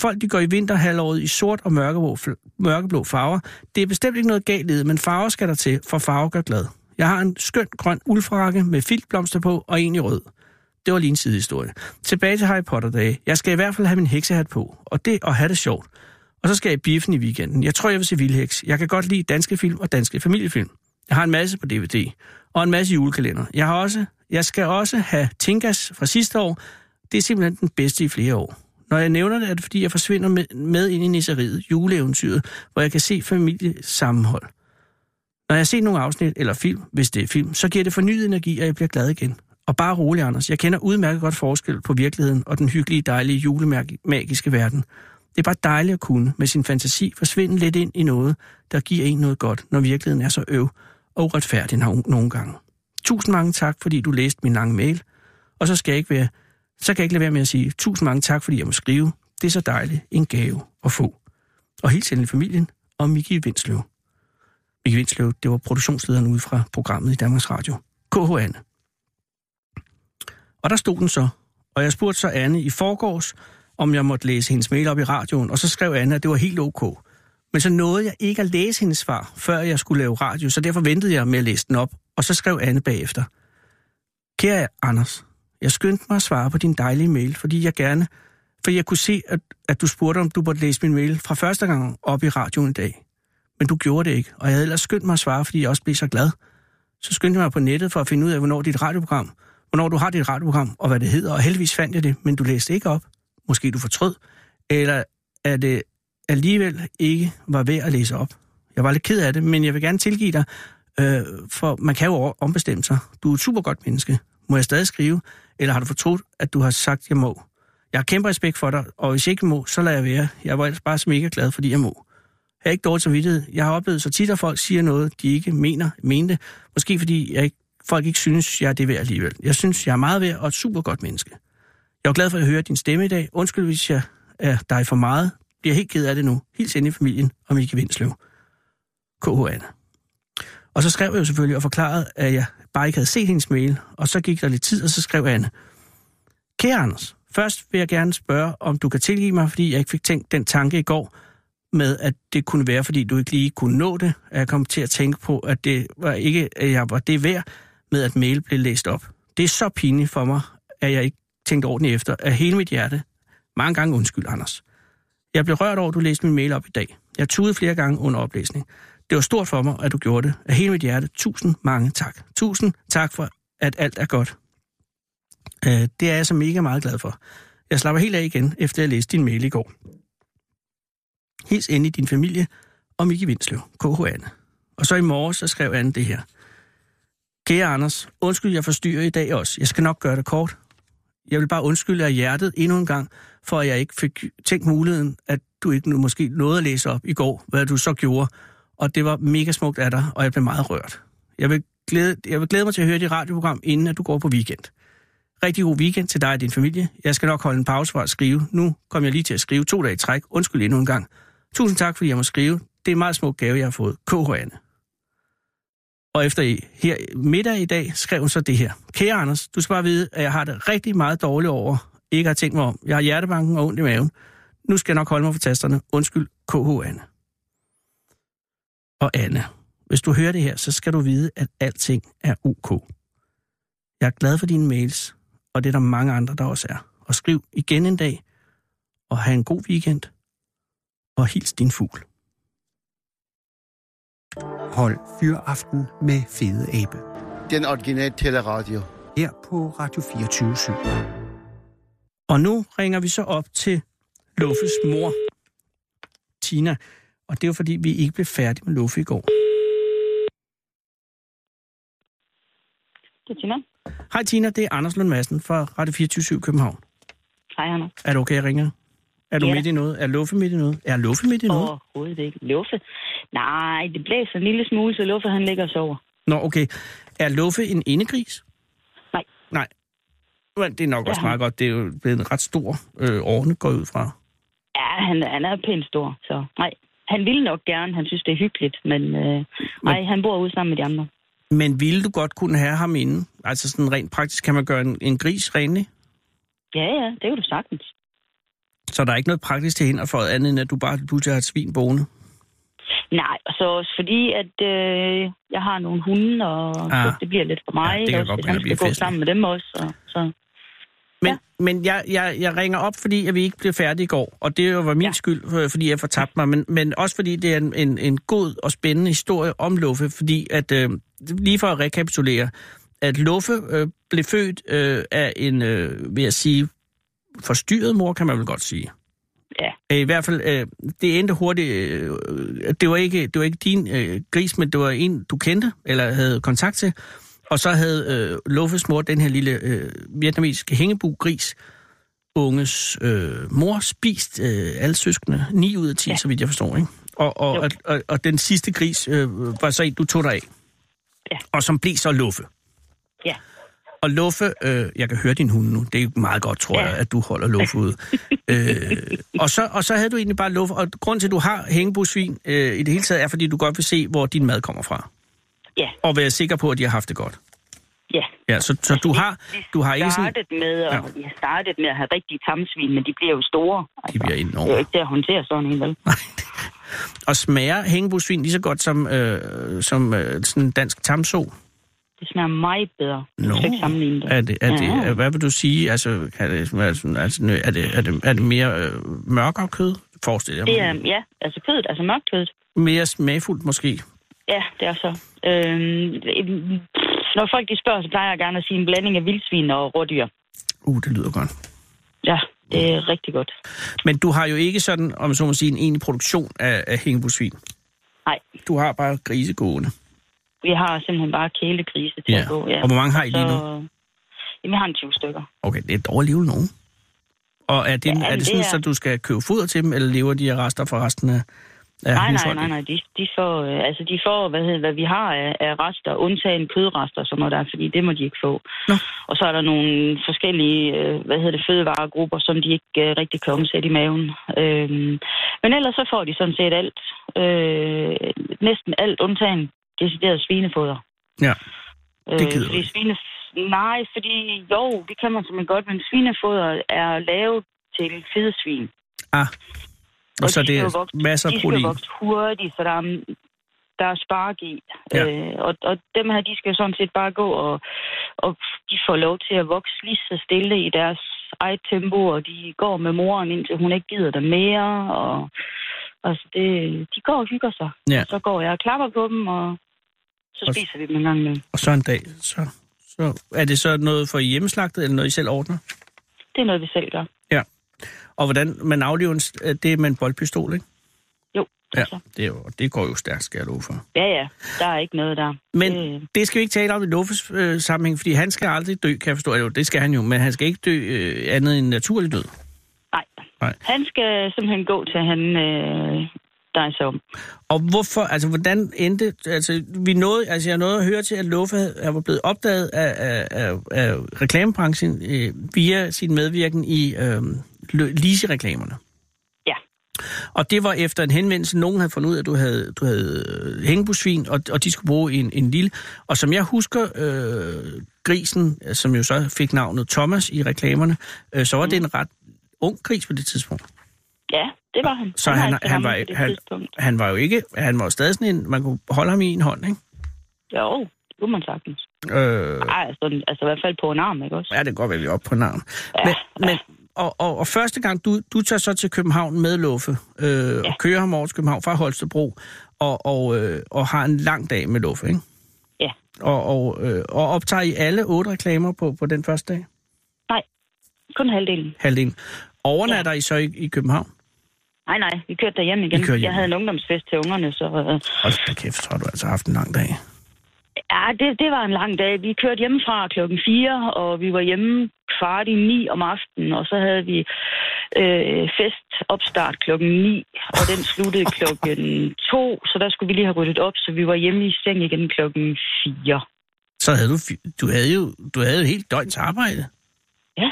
Speaker 5: Folk de går i vinterhalvåret i sort og mørkeblå, mørkeblå farver. Det er bestemt ikke noget galt i det, men farver skal der til, for farver gør glad. Jeg har en skøn grøn uldfrakke med filtblomster på og en i rød. Det var lige en sidehistorie. Tilbage til Harry Potter-dage. Jeg skal i hvert fald have min heksehat på, og det og have det sjovt. Og så skal jeg i biffen i weekenden. Jeg tror, jeg vil se Vildheks. Jeg kan godt lide danske film og danske familiefilm. Jeg har en masse på DVD, og en masse julekalender. Jeg, har også, jeg skal også have Tinkas fra sidste år. Det er simpelthen den bedste i flere år. Når jeg nævner det, er det fordi, jeg forsvinder med, med ind i nisseriet, juleeventyret, hvor jeg kan se familiesammenhold. Når jeg ser nogle afsnit eller film, hvis det er film, så giver det fornyet energi, og jeg bliver glad igen. Og bare rolig, Anders. Jeg kender udmærket godt forskel på virkeligheden og den hyggelige, dejlige, julemagiske verden. Det er bare dejligt at kunne med sin fantasi forsvinde lidt ind i noget, der giver en noget godt, når virkeligheden er så øv og uretfærdig nogle gange. Tusind mange tak, fordi du læste min lange mail, og så skal jeg ikke være så kan jeg ikke lade være med at sige tusind mange tak, fordi jeg må skrive. Det er så dejligt en gave at få. Og helt til familien og Miki Vinsløv. Miki Vinsløv, det var produktionslederen ude fra programmet i Danmarks Radio. KH Anne. Og der stod den så, og jeg spurgte så Anne i forgårs, om jeg måtte læse hendes mail op i radioen, og så skrev Anne, at det var helt ok. Men så nåede jeg ikke at læse hendes svar, før jeg skulle lave radio, så derfor ventede jeg med at læse den op, og så skrev Anne bagefter. Kære Anders, jeg skyndte mig at svare på din dejlige mail, fordi jeg gerne, for jeg kunne se, at, at du spurgte, om du måtte læse min mail fra første gang op i radioen i dag. Men du gjorde det ikke, og jeg havde ellers skyndt mig at svare, fordi jeg også blev så glad. Så skyndte jeg mig på nettet for at finde ud af, hvornår dit radioprogram, hvornår du har dit radioprogram, og hvad det hedder, og heldigvis fandt jeg det, men du læste ikke op. Måske du fortrød, eller at det alligevel ikke var ved at læse op. Jeg var lidt ked af det, men jeg vil gerne tilgive dig, øh, for man kan jo ombestemme sig. Du er et super godt menneske. Må jeg stadig skrive? eller har du fortrudt, at du har sagt, at jeg må? Jeg har kæmpe respekt for dig, og hvis jeg ikke må, så lader jeg være. Jeg var ellers bare mega glad, fordi jeg må. Jeg er ikke dårlig samvittighed. Jeg har oplevet så tit, at folk siger noget, de ikke mener, mente. Måske fordi jeg ikke, folk ikke synes, jeg er det værd alligevel. Jeg synes, jeg er meget værd og et super godt menneske. Jeg er glad for at høre din stemme i dag. Undskyld, hvis jeg er dig for meget. Bliver helt ked af det nu. Hils ind i familien og Mikke Vindslev. K.H. Anna. Og så skrev jeg jo selvfølgelig og forklarede, at jeg bare ikke havde set hendes mail, og så gik der lidt tid, og så skrev Anne. Kære Anders, først vil jeg gerne spørge, om du kan tilgive mig, fordi jeg ikke fik tænkt den tanke i går, med at det kunne være, fordi du ikke lige kunne nå det, at jeg kom til at tænke på, at det var ikke, at jeg var det værd, med at mail blev læst op. Det er så pinligt for mig, at jeg ikke tænkte ordentligt efter, af hele mit hjerte. Mange gange undskyld, Anders. Jeg blev rørt over, at du læste min mail op i dag. Jeg tudede flere gange under oplæsning. Det var stort for mig, at du gjorde det. Af hele mit hjerte, tusind mange tak. Tusind tak for, at alt er godt. Øh, det er jeg så mega meget glad for. Jeg slapper helt af igen, efter jeg læste din mail i går. Hils endelig din familie og Mikke Vindslev, KH Anne. Og så i morges, så skrev Anne det her. Kære Anders, undskyld, jeg forstyrrer i dag også. Jeg skal nok gøre det kort. Jeg vil bare undskylde af hjertet endnu en gang, for at jeg ikke fik tænkt muligheden, at du ikke nu måske nåede at læse op i går, hvad du så gjorde. Og det var mega smukt af dig, og jeg blev meget rørt. Jeg vil glæde, jeg vil glæde mig til at høre dit radioprogram, inden at du går på weekend. Rigtig god weekend til dig og din familie. Jeg skal nok holde en pause for at skrive. Nu kom jeg lige til at skrive to dage i træk. Undskyld endnu en gang. Tusind tak, fordi jeg må skrive. Det er en meget smuk gave, jeg har fået. KH Anne. Og efter i, her middag i dag skrev hun så det her. Kære Anders, du skal bare vide, at jeg har det rigtig meget dårligt over. Ikke har tænkt mig om. Jeg har hjertebanken og ondt i maven. Nu skal jeg nok holde mig for tasterne. Undskyld, KH Anne. Og Anne, hvis du hører det her, så skal du vide, at alting er ok. Jeg er glad for dine mails, og det er der mange andre, der også er. Og skriv igen en dag, og have en god weekend, og hils din fugl.
Speaker 3: Hold fyraften med Fede Abe.
Speaker 8: Den originale teleradio.
Speaker 3: Her på Radio 24 7.
Speaker 5: Og nu ringer vi så op til Luffes mor, Tina. Og det er jo fordi, vi ikke blev færdige med Luffe i går.
Speaker 4: Det er Tina.
Speaker 5: Hej Tina, det er Anders Lund Madsen fra Radio 24 København.
Speaker 4: Hej, Anna.
Speaker 5: Er det okay, jeg ringer? Er du
Speaker 4: Ja.
Speaker 5: midt i noget? Er Luffe midt i noget? Er Luffe midt i noget?
Speaker 4: Overhovedet ikke. Luffe? Nej, det blæser en lille smule, så Luffe han ligger og sover.
Speaker 5: Nå, okay. Er Luffe en indegris?
Speaker 4: Nej.
Speaker 5: Nej. Men det er nok
Speaker 4: Det er
Speaker 5: også
Speaker 4: han.
Speaker 5: meget godt. Det er jo blevet en ret stor øh, ovne, går jeg ud fra.
Speaker 4: Ja, han, han er pænt stor, så nej. Han ville nok gerne, han synes, det er hyggeligt, men øh, nej, han bor ude sammen med de andre.
Speaker 5: Men ville du godt kunne have ham inde? Altså sådan rent praktisk, kan man gøre en, en gris renlig?
Speaker 4: Ja, ja, det kan du sagtens.
Speaker 5: Så der er ikke noget praktisk til hende for andet, end at du bare pludselig har et svin boende.
Speaker 4: Nej, og så også fordi, at øh, jeg har nogle hunde, og
Speaker 5: Ah.
Speaker 4: ah. det bliver lidt for mig.
Speaker 5: Ja, det kan
Speaker 4: ikke
Speaker 5: godt
Speaker 4: hvis
Speaker 5: begynde
Speaker 4: han
Speaker 5: at blive
Speaker 4: skal gå
Speaker 5: festligt.
Speaker 4: sammen med dem også. Og, så.
Speaker 5: Men,
Speaker 4: Ja.
Speaker 5: men jeg, jeg, jeg ringer op, fordi at vi ikke blev færdige i går, og det jo var min ja.
Speaker 4: Ja.
Speaker 5: skyld, øh, fordi jeg fortabte mig, men, men også fordi det er en, en, en god og spændende historie om Luffe, fordi at, øh, lige for at rekapitulere, at Luffe øh, blev født øh, af en, øh, vil jeg sige, forstyrret mor, kan man vel godt sige.
Speaker 4: Ja.
Speaker 5: Øh, I hvert fald, øh, det endte hurtigt, øh, det, var ikke, det var ikke din øh, gris, men det var en, du kendte, eller havde kontakt til, og så havde øh, Luffes mor, den her lille øh, vietnamesiske hængebu-gris, unges øh, mor, spist øh, alle søskende. 9 ud af 10, ja. så vidt jeg forstår, ikke? Og, og,
Speaker 4: Jo.
Speaker 5: og, og, og den sidste gris øh, var så en, du tog dig af.
Speaker 4: Ja.
Speaker 5: Og som blev så Luffe.
Speaker 4: Ja.
Speaker 5: Og Luffe, øh, jeg kan høre din hund nu, det er jo meget godt, tror ja.
Speaker 4: Ja.
Speaker 5: jeg, at du holder Luffe
Speaker 4: *laughs*
Speaker 5: ude. øh, og, så, og så havde du egentlig bare Luffe, og grund til, at du har hængebusvin øh, i det hele taget, er, fordi du godt vil se, hvor din mad kommer fra.
Speaker 4: Ja.
Speaker 5: Og være sikker på, at de har haft det godt.
Speaker 4: Ja,
Speaker 5: Ja, så, så du har, du har ikke
Speaker 4: jeg
Speaker 5: sådan...
Speaker 4: startede med, at,
Speaker 5: Ja.
Speaker 4: ja. jeg startede med at have rigtige tamsvin, men de bliver jo store. Altså,
Speaker 5: bliver
Speaker 4: Det
Speaker 5: enorme.
Speaker 4: er jo
Speaker 5: *laughs*
Speaker 4: ikke til at håndtere sådan en, vel?
Speaker 5: Og smager hængebusvin lige så godt som, øh, som øh, sådan en dansk tamso?
Speaker 4: Det smager meget bedre. Du
Speaker 5: Nå.
Speaker 4: kan ikke sammenligne det.
Speaker 5: Er det, er
Speaker 4: Ja.
Speaker 5: det, er, hvad vil du sige? Altså, kan det, være sådan- altså, nø- er, det, er, det, er det mere øh, mørkere kød? Forestiller
Speaker 4: Det
Speaker 5: jeg
Speaker 4: er,
Speaker 5: mig.
Speaker 4: ja, altså kødet, altså mørkt kødet.
Speaker 5: Mere smagfuldt måske?
Speaker 4: Ja, det er så. Øhm, pff, når folk de spørger, så plejer jeg gerne at sige en blanding af vildsvin og rådyr.
Speaker 5: Uh, det lyder godt.
Speaker 4: Ja, det er rigtig godt.
Speaker 5: Men du har jo ikke sådan, om så må sige, en egentlig produktion af, af hængebusvin.
Speaker 4: Nej,
Speaker 5: Du har bare grise gående.
Speaker 4: vi har simpelthen bare kælegrise til at gå. Ja. øh,
Speaker 5: Og hvor mange har I lige nu?
Speaker 4: Jamen, jeg har en 20 stykker.
Speaker 5: Okay, det er dog alligevel nogen. Og er det, ja,
Speaker 4: Ja, men
Speaker 5: er det
Speaker 4: det
Speaker 5: sådan,
Speaker 4: er-
Speaker 5: at du skal købe foder til dem, eller lever de af rester fra resten af,
Speaker 4: Nej,
Speaker 5: af
Speaker 4: nej, nej,
Speaker 5: husholdningen?
Speaker 4: nej. De, de får, øh, altså, de får hvad, hedder, hvad vi har af, af rester, undtagen kødrester, som noget der, fordi det må de ikke få.
Speaker 5: Nå.
Speaker 4: Og så er der nogle forskellige øh, hvad hedder det, fødevaregrupper, som de ikke øh, rigtig kan omsætte i maven. Øhm, men ellers så får de sådan set alt. Øh, næsten alt, undtagen decideret svinefoder. Øh,
Speaker 5: Ja. Det gider du
Speaker 4: fordi
Speaker 5: ikke.
Speaker 4: svine... Nej, fordi jo, det kan man simpelthen godt, men svinefoder er lavet til fedesvin.
Speaker 5: Ah. Og, og så
Speaker 4: de
Speaker 5: det
Speaker 4: skal
Speaker 5: er
Speaker 4: jo vokse-
Speaker 5: masser af
Speaker 4: de skal
Speaker 5: protein.
Speaker 4: jo vokse hurtigt, så der er, der er spark i.
Speaker 5: Ja.
Speaker 4: Ja. Øh, og, og dem her, de skal jo sådan set bare gå, og, og de får lov til at vokse lige så stille i deres eget tempo, og de går med moren, indtil hun ikke gider dem mere, og altså det, de går og hygger sig.
Speaker 5: Ja.
Speaker 4: Og Så går jeg og klapper på dem, og så
Speaker 5: Og-
Speaker 4: spiser vi dem en gang med.
Speaker 5: Og så en dag, så, så er det så noget for hjemmeslagtet, eller noget, I selv ordner?
Speaker 4: Det er noget, vi selv gør.
Speaker 5: Ja. Og hvordan man aflever en, s- øh, det er med en boldpistol, ikke? Ja, det, er jo, det går jo stærkt, skal jeg love for.
Speaker 4: altså. Ja, ja. Der er ikke noget der.
Speaker 5: Men
Speaker 4: Det-
Speaker 5: det skal vi ikke tale om i Luffes øh, sammenhæng, fordi han skal aldrig dø, kan jeg forstå. Jo, det skal han jo, men han skal ikke dø øh, andet end naturlig død.
Speaker 4: Nej.
Speaker 5: Nej.
Speaker 4: Han skal simpelthen gå til han øh, dig så om.
Speaker 5: Og hvorfor, altså hvordan endte, altså vi nåede, altså jeg nåede at høre til, at Luffe havde- han var blevet opdaget af, af, af, af reklamebranchen øh, via sin medvirken i øh, Lise-reklamerne.
Speaker 4: Ja.
Speaker 5: Og det var efter en henvendelse, nogen havde fundet ud af, at du havde, du havde øh, hængebusvin, og, og de skulle bruge en, en lille. Og som jeg husker, øh, grisen, som jo så fik navnet Thomas i reklamerne, øh, så var mm. det en ret ung gris på det tidspunkt.
Speaker 4: Ja, det var han.
Speaker 5: Så
Speaker 4: Det
Speaker 5: han,
Speaker 4: altså
Speaker 5: han,
Speaker 4: ham
Speaker 5: var,
Speaker 4: på det
Speaker 5: han,
Speaker 4: tidspunkt.
Speaker 5: han var jo ikke, han var jo stadig sådan en, man kunne holde ham i en hånd, ikke?
Speaker 4: Jo, det kunne man sagtens.
Speaker 5: Øh,
Speaker 4: Nej, altså, altså i hvert fald på en arm, ikke også?
Speaker 5: ja, det kan godt være, vi er oppe på navn. Men, men og, og, og første gang, du, du tager så til København med Luffe, øh, og kører ham over til København fra Holstebro, og, og, øh, og har en lang dag med Luffe, ikke?
Speaker 4: Ja.
Speaker 5: Og, og, øh, og optager I alle otte reklamer på, på den første dag?
Speaker 4: Nej, kun halvdelen.
Speaker 5: Halvdelen. Overnatter ja. I så i, i København?
Speaker 4: Nej, nej, vi kørte derhjem igen.
Speaker 5: I kørte hjem.
Speaker 4: Jeg havde en ungdomsfest til ungerne, så... Øh,
Speaker 5: Hold da kæft, så har du altså haft en lang dag.
Speaker 4: ja, det, det var en lang dag. Vi kørte hjemmefra klokken 4, og vi var hjemme kvart i 9 om aftenen, og så havde vi øh, fest opstart klokken 9, og den sluttede
Speaker 5: *laughs*
Speaker 4: klokken 2, så der skulle vi lige have ryddet op, så vi var hjemme i seng igen klokken 4.
Speaker 5: Så havde du, fi- du havde jo, du havde jo helt døgns arbejde.
Speaker 4: Ja,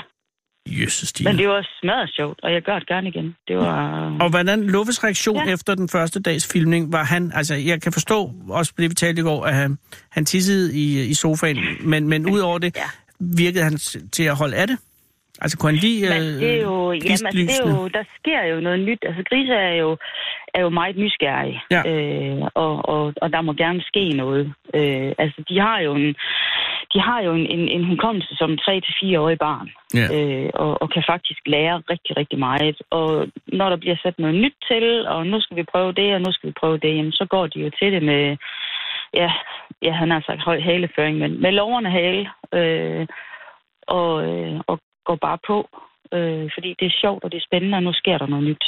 Speaker 5: Jøsses, Stine.
Speaker 4: men det var smadret sjovt, og jeg gør det gerne igen. Det var...
Speaker 5: Mm. Og hvordan Luffes reaktion ja.
Speaker 4: Ja.
Speaker 5: efter den første dags filmning, var han, altså jeg kan forstå, også på det vi talte i går, at han, han tissede i, i sofaen, men, men ud over det, ja.
Speaker 4: Ja.
Speaker 5: virkede han s- til at holde af det? Altså kunne han lige...
Speaker 4: Men det er jo, jamen, altså, det er
Speaker 5: gistlysene?
Speaker 4: jo, der sker jo noget nyt. Altså, grise er jo, er jo meget nysgerrige,
Speaker 5: Ja.
Speaker 4: øh, og, og, og der må gerne ske noget. Øh, altså, de har jo en, de har jo en, en, en hukommelse som 3-4-årig barn,
Speaker 5: Ja.
Speaker 4: øh, og, og kan faktisk lære rigtig, rigtig meget. Og når der bliver sat noget nyt til, og nu skal vi prøve det, og nu skal vi prøve det, jamen, så går de jo til det med, ja, ja han har sagt høj haleføring, men med loverne hale, øh, og, øh, og går bare på, øh, fordi det er sjovt, og det er spændende, og nu sker der noget nyt.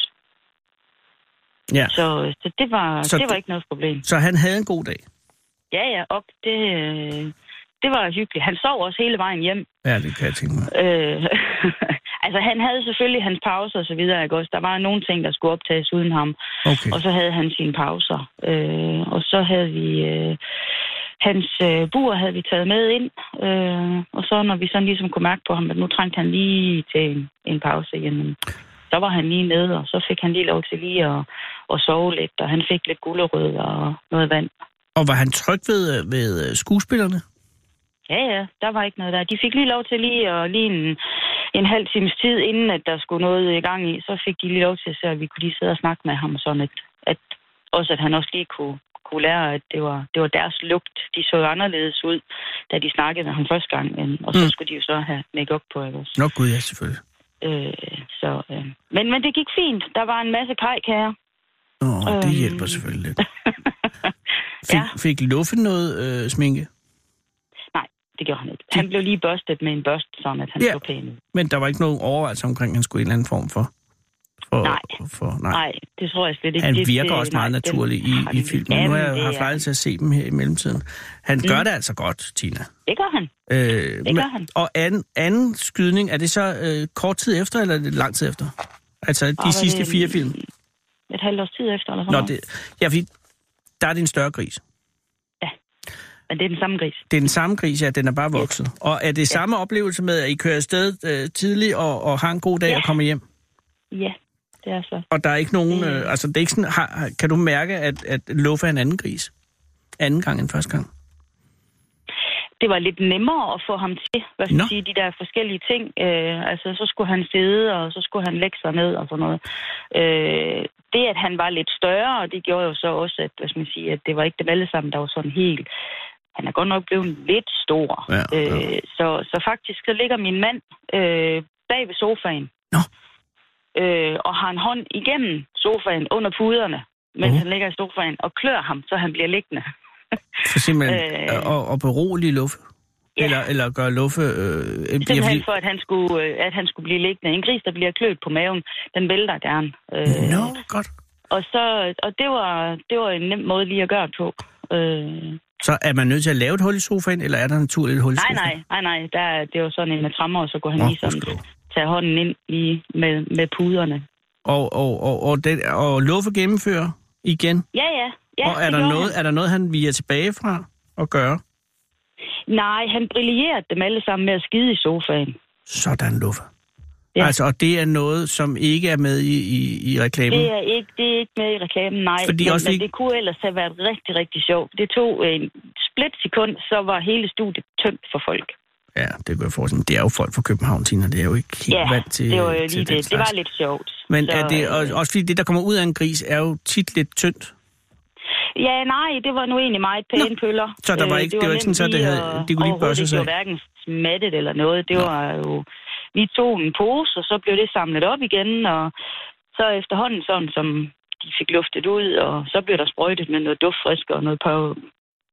Speaker 5: Ja.
Speaker 4: Så, øh, så det var,
Speaker 5: Så
Speaker 4: så det var
Speaker 5: du-
Speaker 4: ikke noget problem.
Speaker 5: Så han havde en god dag.
Speaker 4: Ja, ja, op, det, øh, det var hyggeligt. Han sov også hele vejen hjem.
Speaker 5: Ja, det kan jeg tænke mig.
Speaker 4: Øh, *laughs* altså, han havde selvfølgelig hans pauser og så videre, ikke også? Der var nogle ting, der skulle optages uden ham.
Speaker 5: Okay.
Speaker 4: Og så havde han sine pauser. Øh, og så havde vi... Øh, hans øh, bur havde vi taget med ind. Øh, og så når vi sådan ligesom kunne mærke på ham, at nu trængte han lige til en, en pause, jamen, så var han lige nede, og så fik han lige lov til lige at, at sove lidt. Og han fik lidt gulerød og noget vand.
Speaker 5: Og var han tryg ved, øh, ved øh, skuespillerne?
Speaker 4: Ja, ja, der var ikke noget der. De fik lige lov til lige, og lige en, en halv times tid, inden at der skulle noget i gang i, så fik de lige lov til, så vi kunne lige sidde og snakke med ham, sådan at, at også at han også lige kunne, kunne lære, at det var, det var deres lugt. De så jo anderledes ud, da de snakkede med ham første gang, end, og så
Speaker 5: Mm.
Speaker 4: mm. skulle de jo så have makeup på, ikke også?
Speaker 5: Nå gud, ja, selvfølgelig.
Speaker 4: Øh, så, øh. Men, men det gik fint. Der var en masse kajkager.
Speaker 5: Nå, det
Speaker 4: Øhm.
Speaker 5: hjælper selvfølgelig
Speaker 4: *laughs*
Speaker 5: lidt. Fik,
Speaker 4: Ja.
Speaker 5: fik Luffe noget øh, sminke?
Speaker 4: Det gjorde han ikke. Han blev lige børstet med en børst, sådan at han
Speaker 5: Ja.
Speaker 4: yeah. så pæn ud.
Speaker 5: Men der var ikke nogen overvejelse omkring, at han skulle i en eller anden form for... for
Speaker 4: Nej.
Speaker 5: For, nej.
Speaker 4: Nej, det tror jeg slet ikke.
Speaker 5: Han
Speaker 4: Det-
Speaker 5: virker
Speaker 4: det-
Speaker 5: også meget
Speaker 4: nej, den
Speaker 5: naturlig i,
Speaker 4: har
Speaker 5: i
Speaker 4: den-
Speaker 5: filmen. nu har jeg
Speaker 4: Jamen,
Speaker 5: jo
Speaker 4: det
Speaker 5: haft
Speaker 4: er-
Speaker 5: lejlighed til at se dem her i mellemtiden. Han mm. gør det altså godt, Tina.
Speaker 4: Det gør han.
Speaker 5: Øh, det
Speaker 4: gør han.
Speaker 5: Og anden, anden skydning, er det så øh, kort tid efter, eller er det lang tid efter? Altså de
Speaker 4: Ah, var
Speaker 5: sidste
Speaker 4: det-
Speaker 5: fire film?
Speaker 4: Et halvt års tid efter, eller sådan
Speaker 5: Nå,
Speaker 4: noget.
Speaker 5: det, ja, fordi der er det en større gris.
Speaker 4: Men det er den samme gris.
Speaker 5: Det er den samme gris, ja, den er bare vokset. Og er det samme oplevelse med, at I kører afsted øh, tidligt og, og har en god dag ja.
Speaker 4: Ja.
Speaker 5: og kommer hjem?
Speaker 4: Ja, det er så.
Speaker 5: Og der er ikke nogen... Øh, altså, det er ikke sådan, har, har- kan du mærke, at, at Luffe er en anden gris? Anden gang end første gang?
Speaker 4: Det var lidt nemmere at få ham til, hvad skal
Speaker 5: Nå.
Speaker 4: jeg sige, de der forskellige ting. Øh, altså, så skulle han sidde, og så skulle han lægge sig ned og sådan noget. Øh, det, at han var lidt større, det gjorde jo så også, at, hvad skal man sige, at det var ikke dem alle sammen, der var sådan helt... Han er godt nok blevet lidt stor.
Speaker 5: Ja, ja.
Speaker 4: Øh, så, så faktisk, så ligger min mand øh, bag ved sofaen.
Speaker 5: Nå.
Speaker 4: Øh, og har en hånd igennem sofaen under puderne, mens
Speaker 5: Uh.
Speaker 4: uh. han ligger i sofaen, og klør ham, så han bliver liggende.
Speaker 5: For simpelthen
Speaker 4: Øh.
Speaker 5: øh, og, og berolige Luffe?
Speaker 4: Ja.
Speaker 5: Eller, eller gør Luffe... Øh, ja,
Speaker 4: Simpelthen
Speaker 5: fordi,
Speaker 4: for, at han, skulle, øh, at han skulle blive liggende. En gris, der bliver kløet på maven, den vælter gerne. Øh,
Speaker 5: Nå, godt.
Speaker 4: Og, så, og det, var, det var en nem måde lige at gøre det på. Øh,
Speaker 5: Så er man nødt til at lave et hul i sofaen, eller er der naturligt et hul i
Speaker 4: nej,
Speaker 5: sofaen?
Speaker 4: nej, nej, nej. Der, er- det var sådan en med trammer, og så kunne han
Speaker 5: Nå,
Speaker 4: lige sådan
Speaker 5: gudskelov.
Speaker 4: tage hånden ind lige med, med puderne.
Speaker 5: Og, og, og, og, den, og Luffe gennemfører igen?
Speaker 4: Ja, ja. ja
Speaker 5: og er
Speaker 4: det
Speaker 5: der,
Speaker 4: gjorde
Speaker 5: noget,
Speaker 4: Han.
Speaker 5: er der noget, han viger tilbage fra at gøre?
Speaker 4: Nej, han brillerede dem alle sammen med at skide i sofaen.
Speaker 5: Sådan, Luffe. Ja.
Speaker 4: Ja.
Speaker 5: Altså, og det er noget, som ikke er med i, i, i reklamen?
Speaker 4: Det er, ikke, det er ikke med i reklamen, nej.
Speaker 5: Mm. Fordi
Speaker 4: men,
Speaker 5: også
Speaker 4: men
Speaker 5: ikke-
Speaker 4: det kunne ellers have været rigtig, rigtig sjovt. Det tog en split sekund, så var hele studiet tømt for folk.
Speaker 5: Ja, det kunne jeg forestille mig. Det er jo folk fra København, Tina. Det er jo ikke helt
Speaker 4: Ja,
Speaker 5: vant til
Speaker 4: det var jo
Speaker 5: til
Speaker 4: lige
Speaker 5: den
Speaker 4: det. Det
Speaker 5: slags.
Speaker 4: var lidt sjovt.
Speaker 5: Men
Speaker 4: Så,
Speaker 5: er det, og,
Speaker 4: øh,
Speaker 5: også fordi det, der kommer ud af en gris, er jo tit lidt tyndt.
Speaker 4: Ja, nej, det var nu egentlig meget pæne pøller.
Speaker 5: så der var
Speaker 4: Øh,
Speaker 5: ikke- det var ikke
Speaker 4: nemt
Speaker 5: sådan, så det
Speaker 4: lige
Speaker 5: havde-
Speaker 4: at-
Speaker 5: det kunne lige
Speaker 4: overhovedet
Speaker 5: børstes
Speaker 4: Det
Speaker 5: af.
Speaker 4: var hverken smattet eller noget. Det var jo... Vi tog en pose, og så blev det samlet op igen, og så efterhånden sådan, som de fik luftet ud, og så blev der sprøjtet med noget duftfrisk og noget par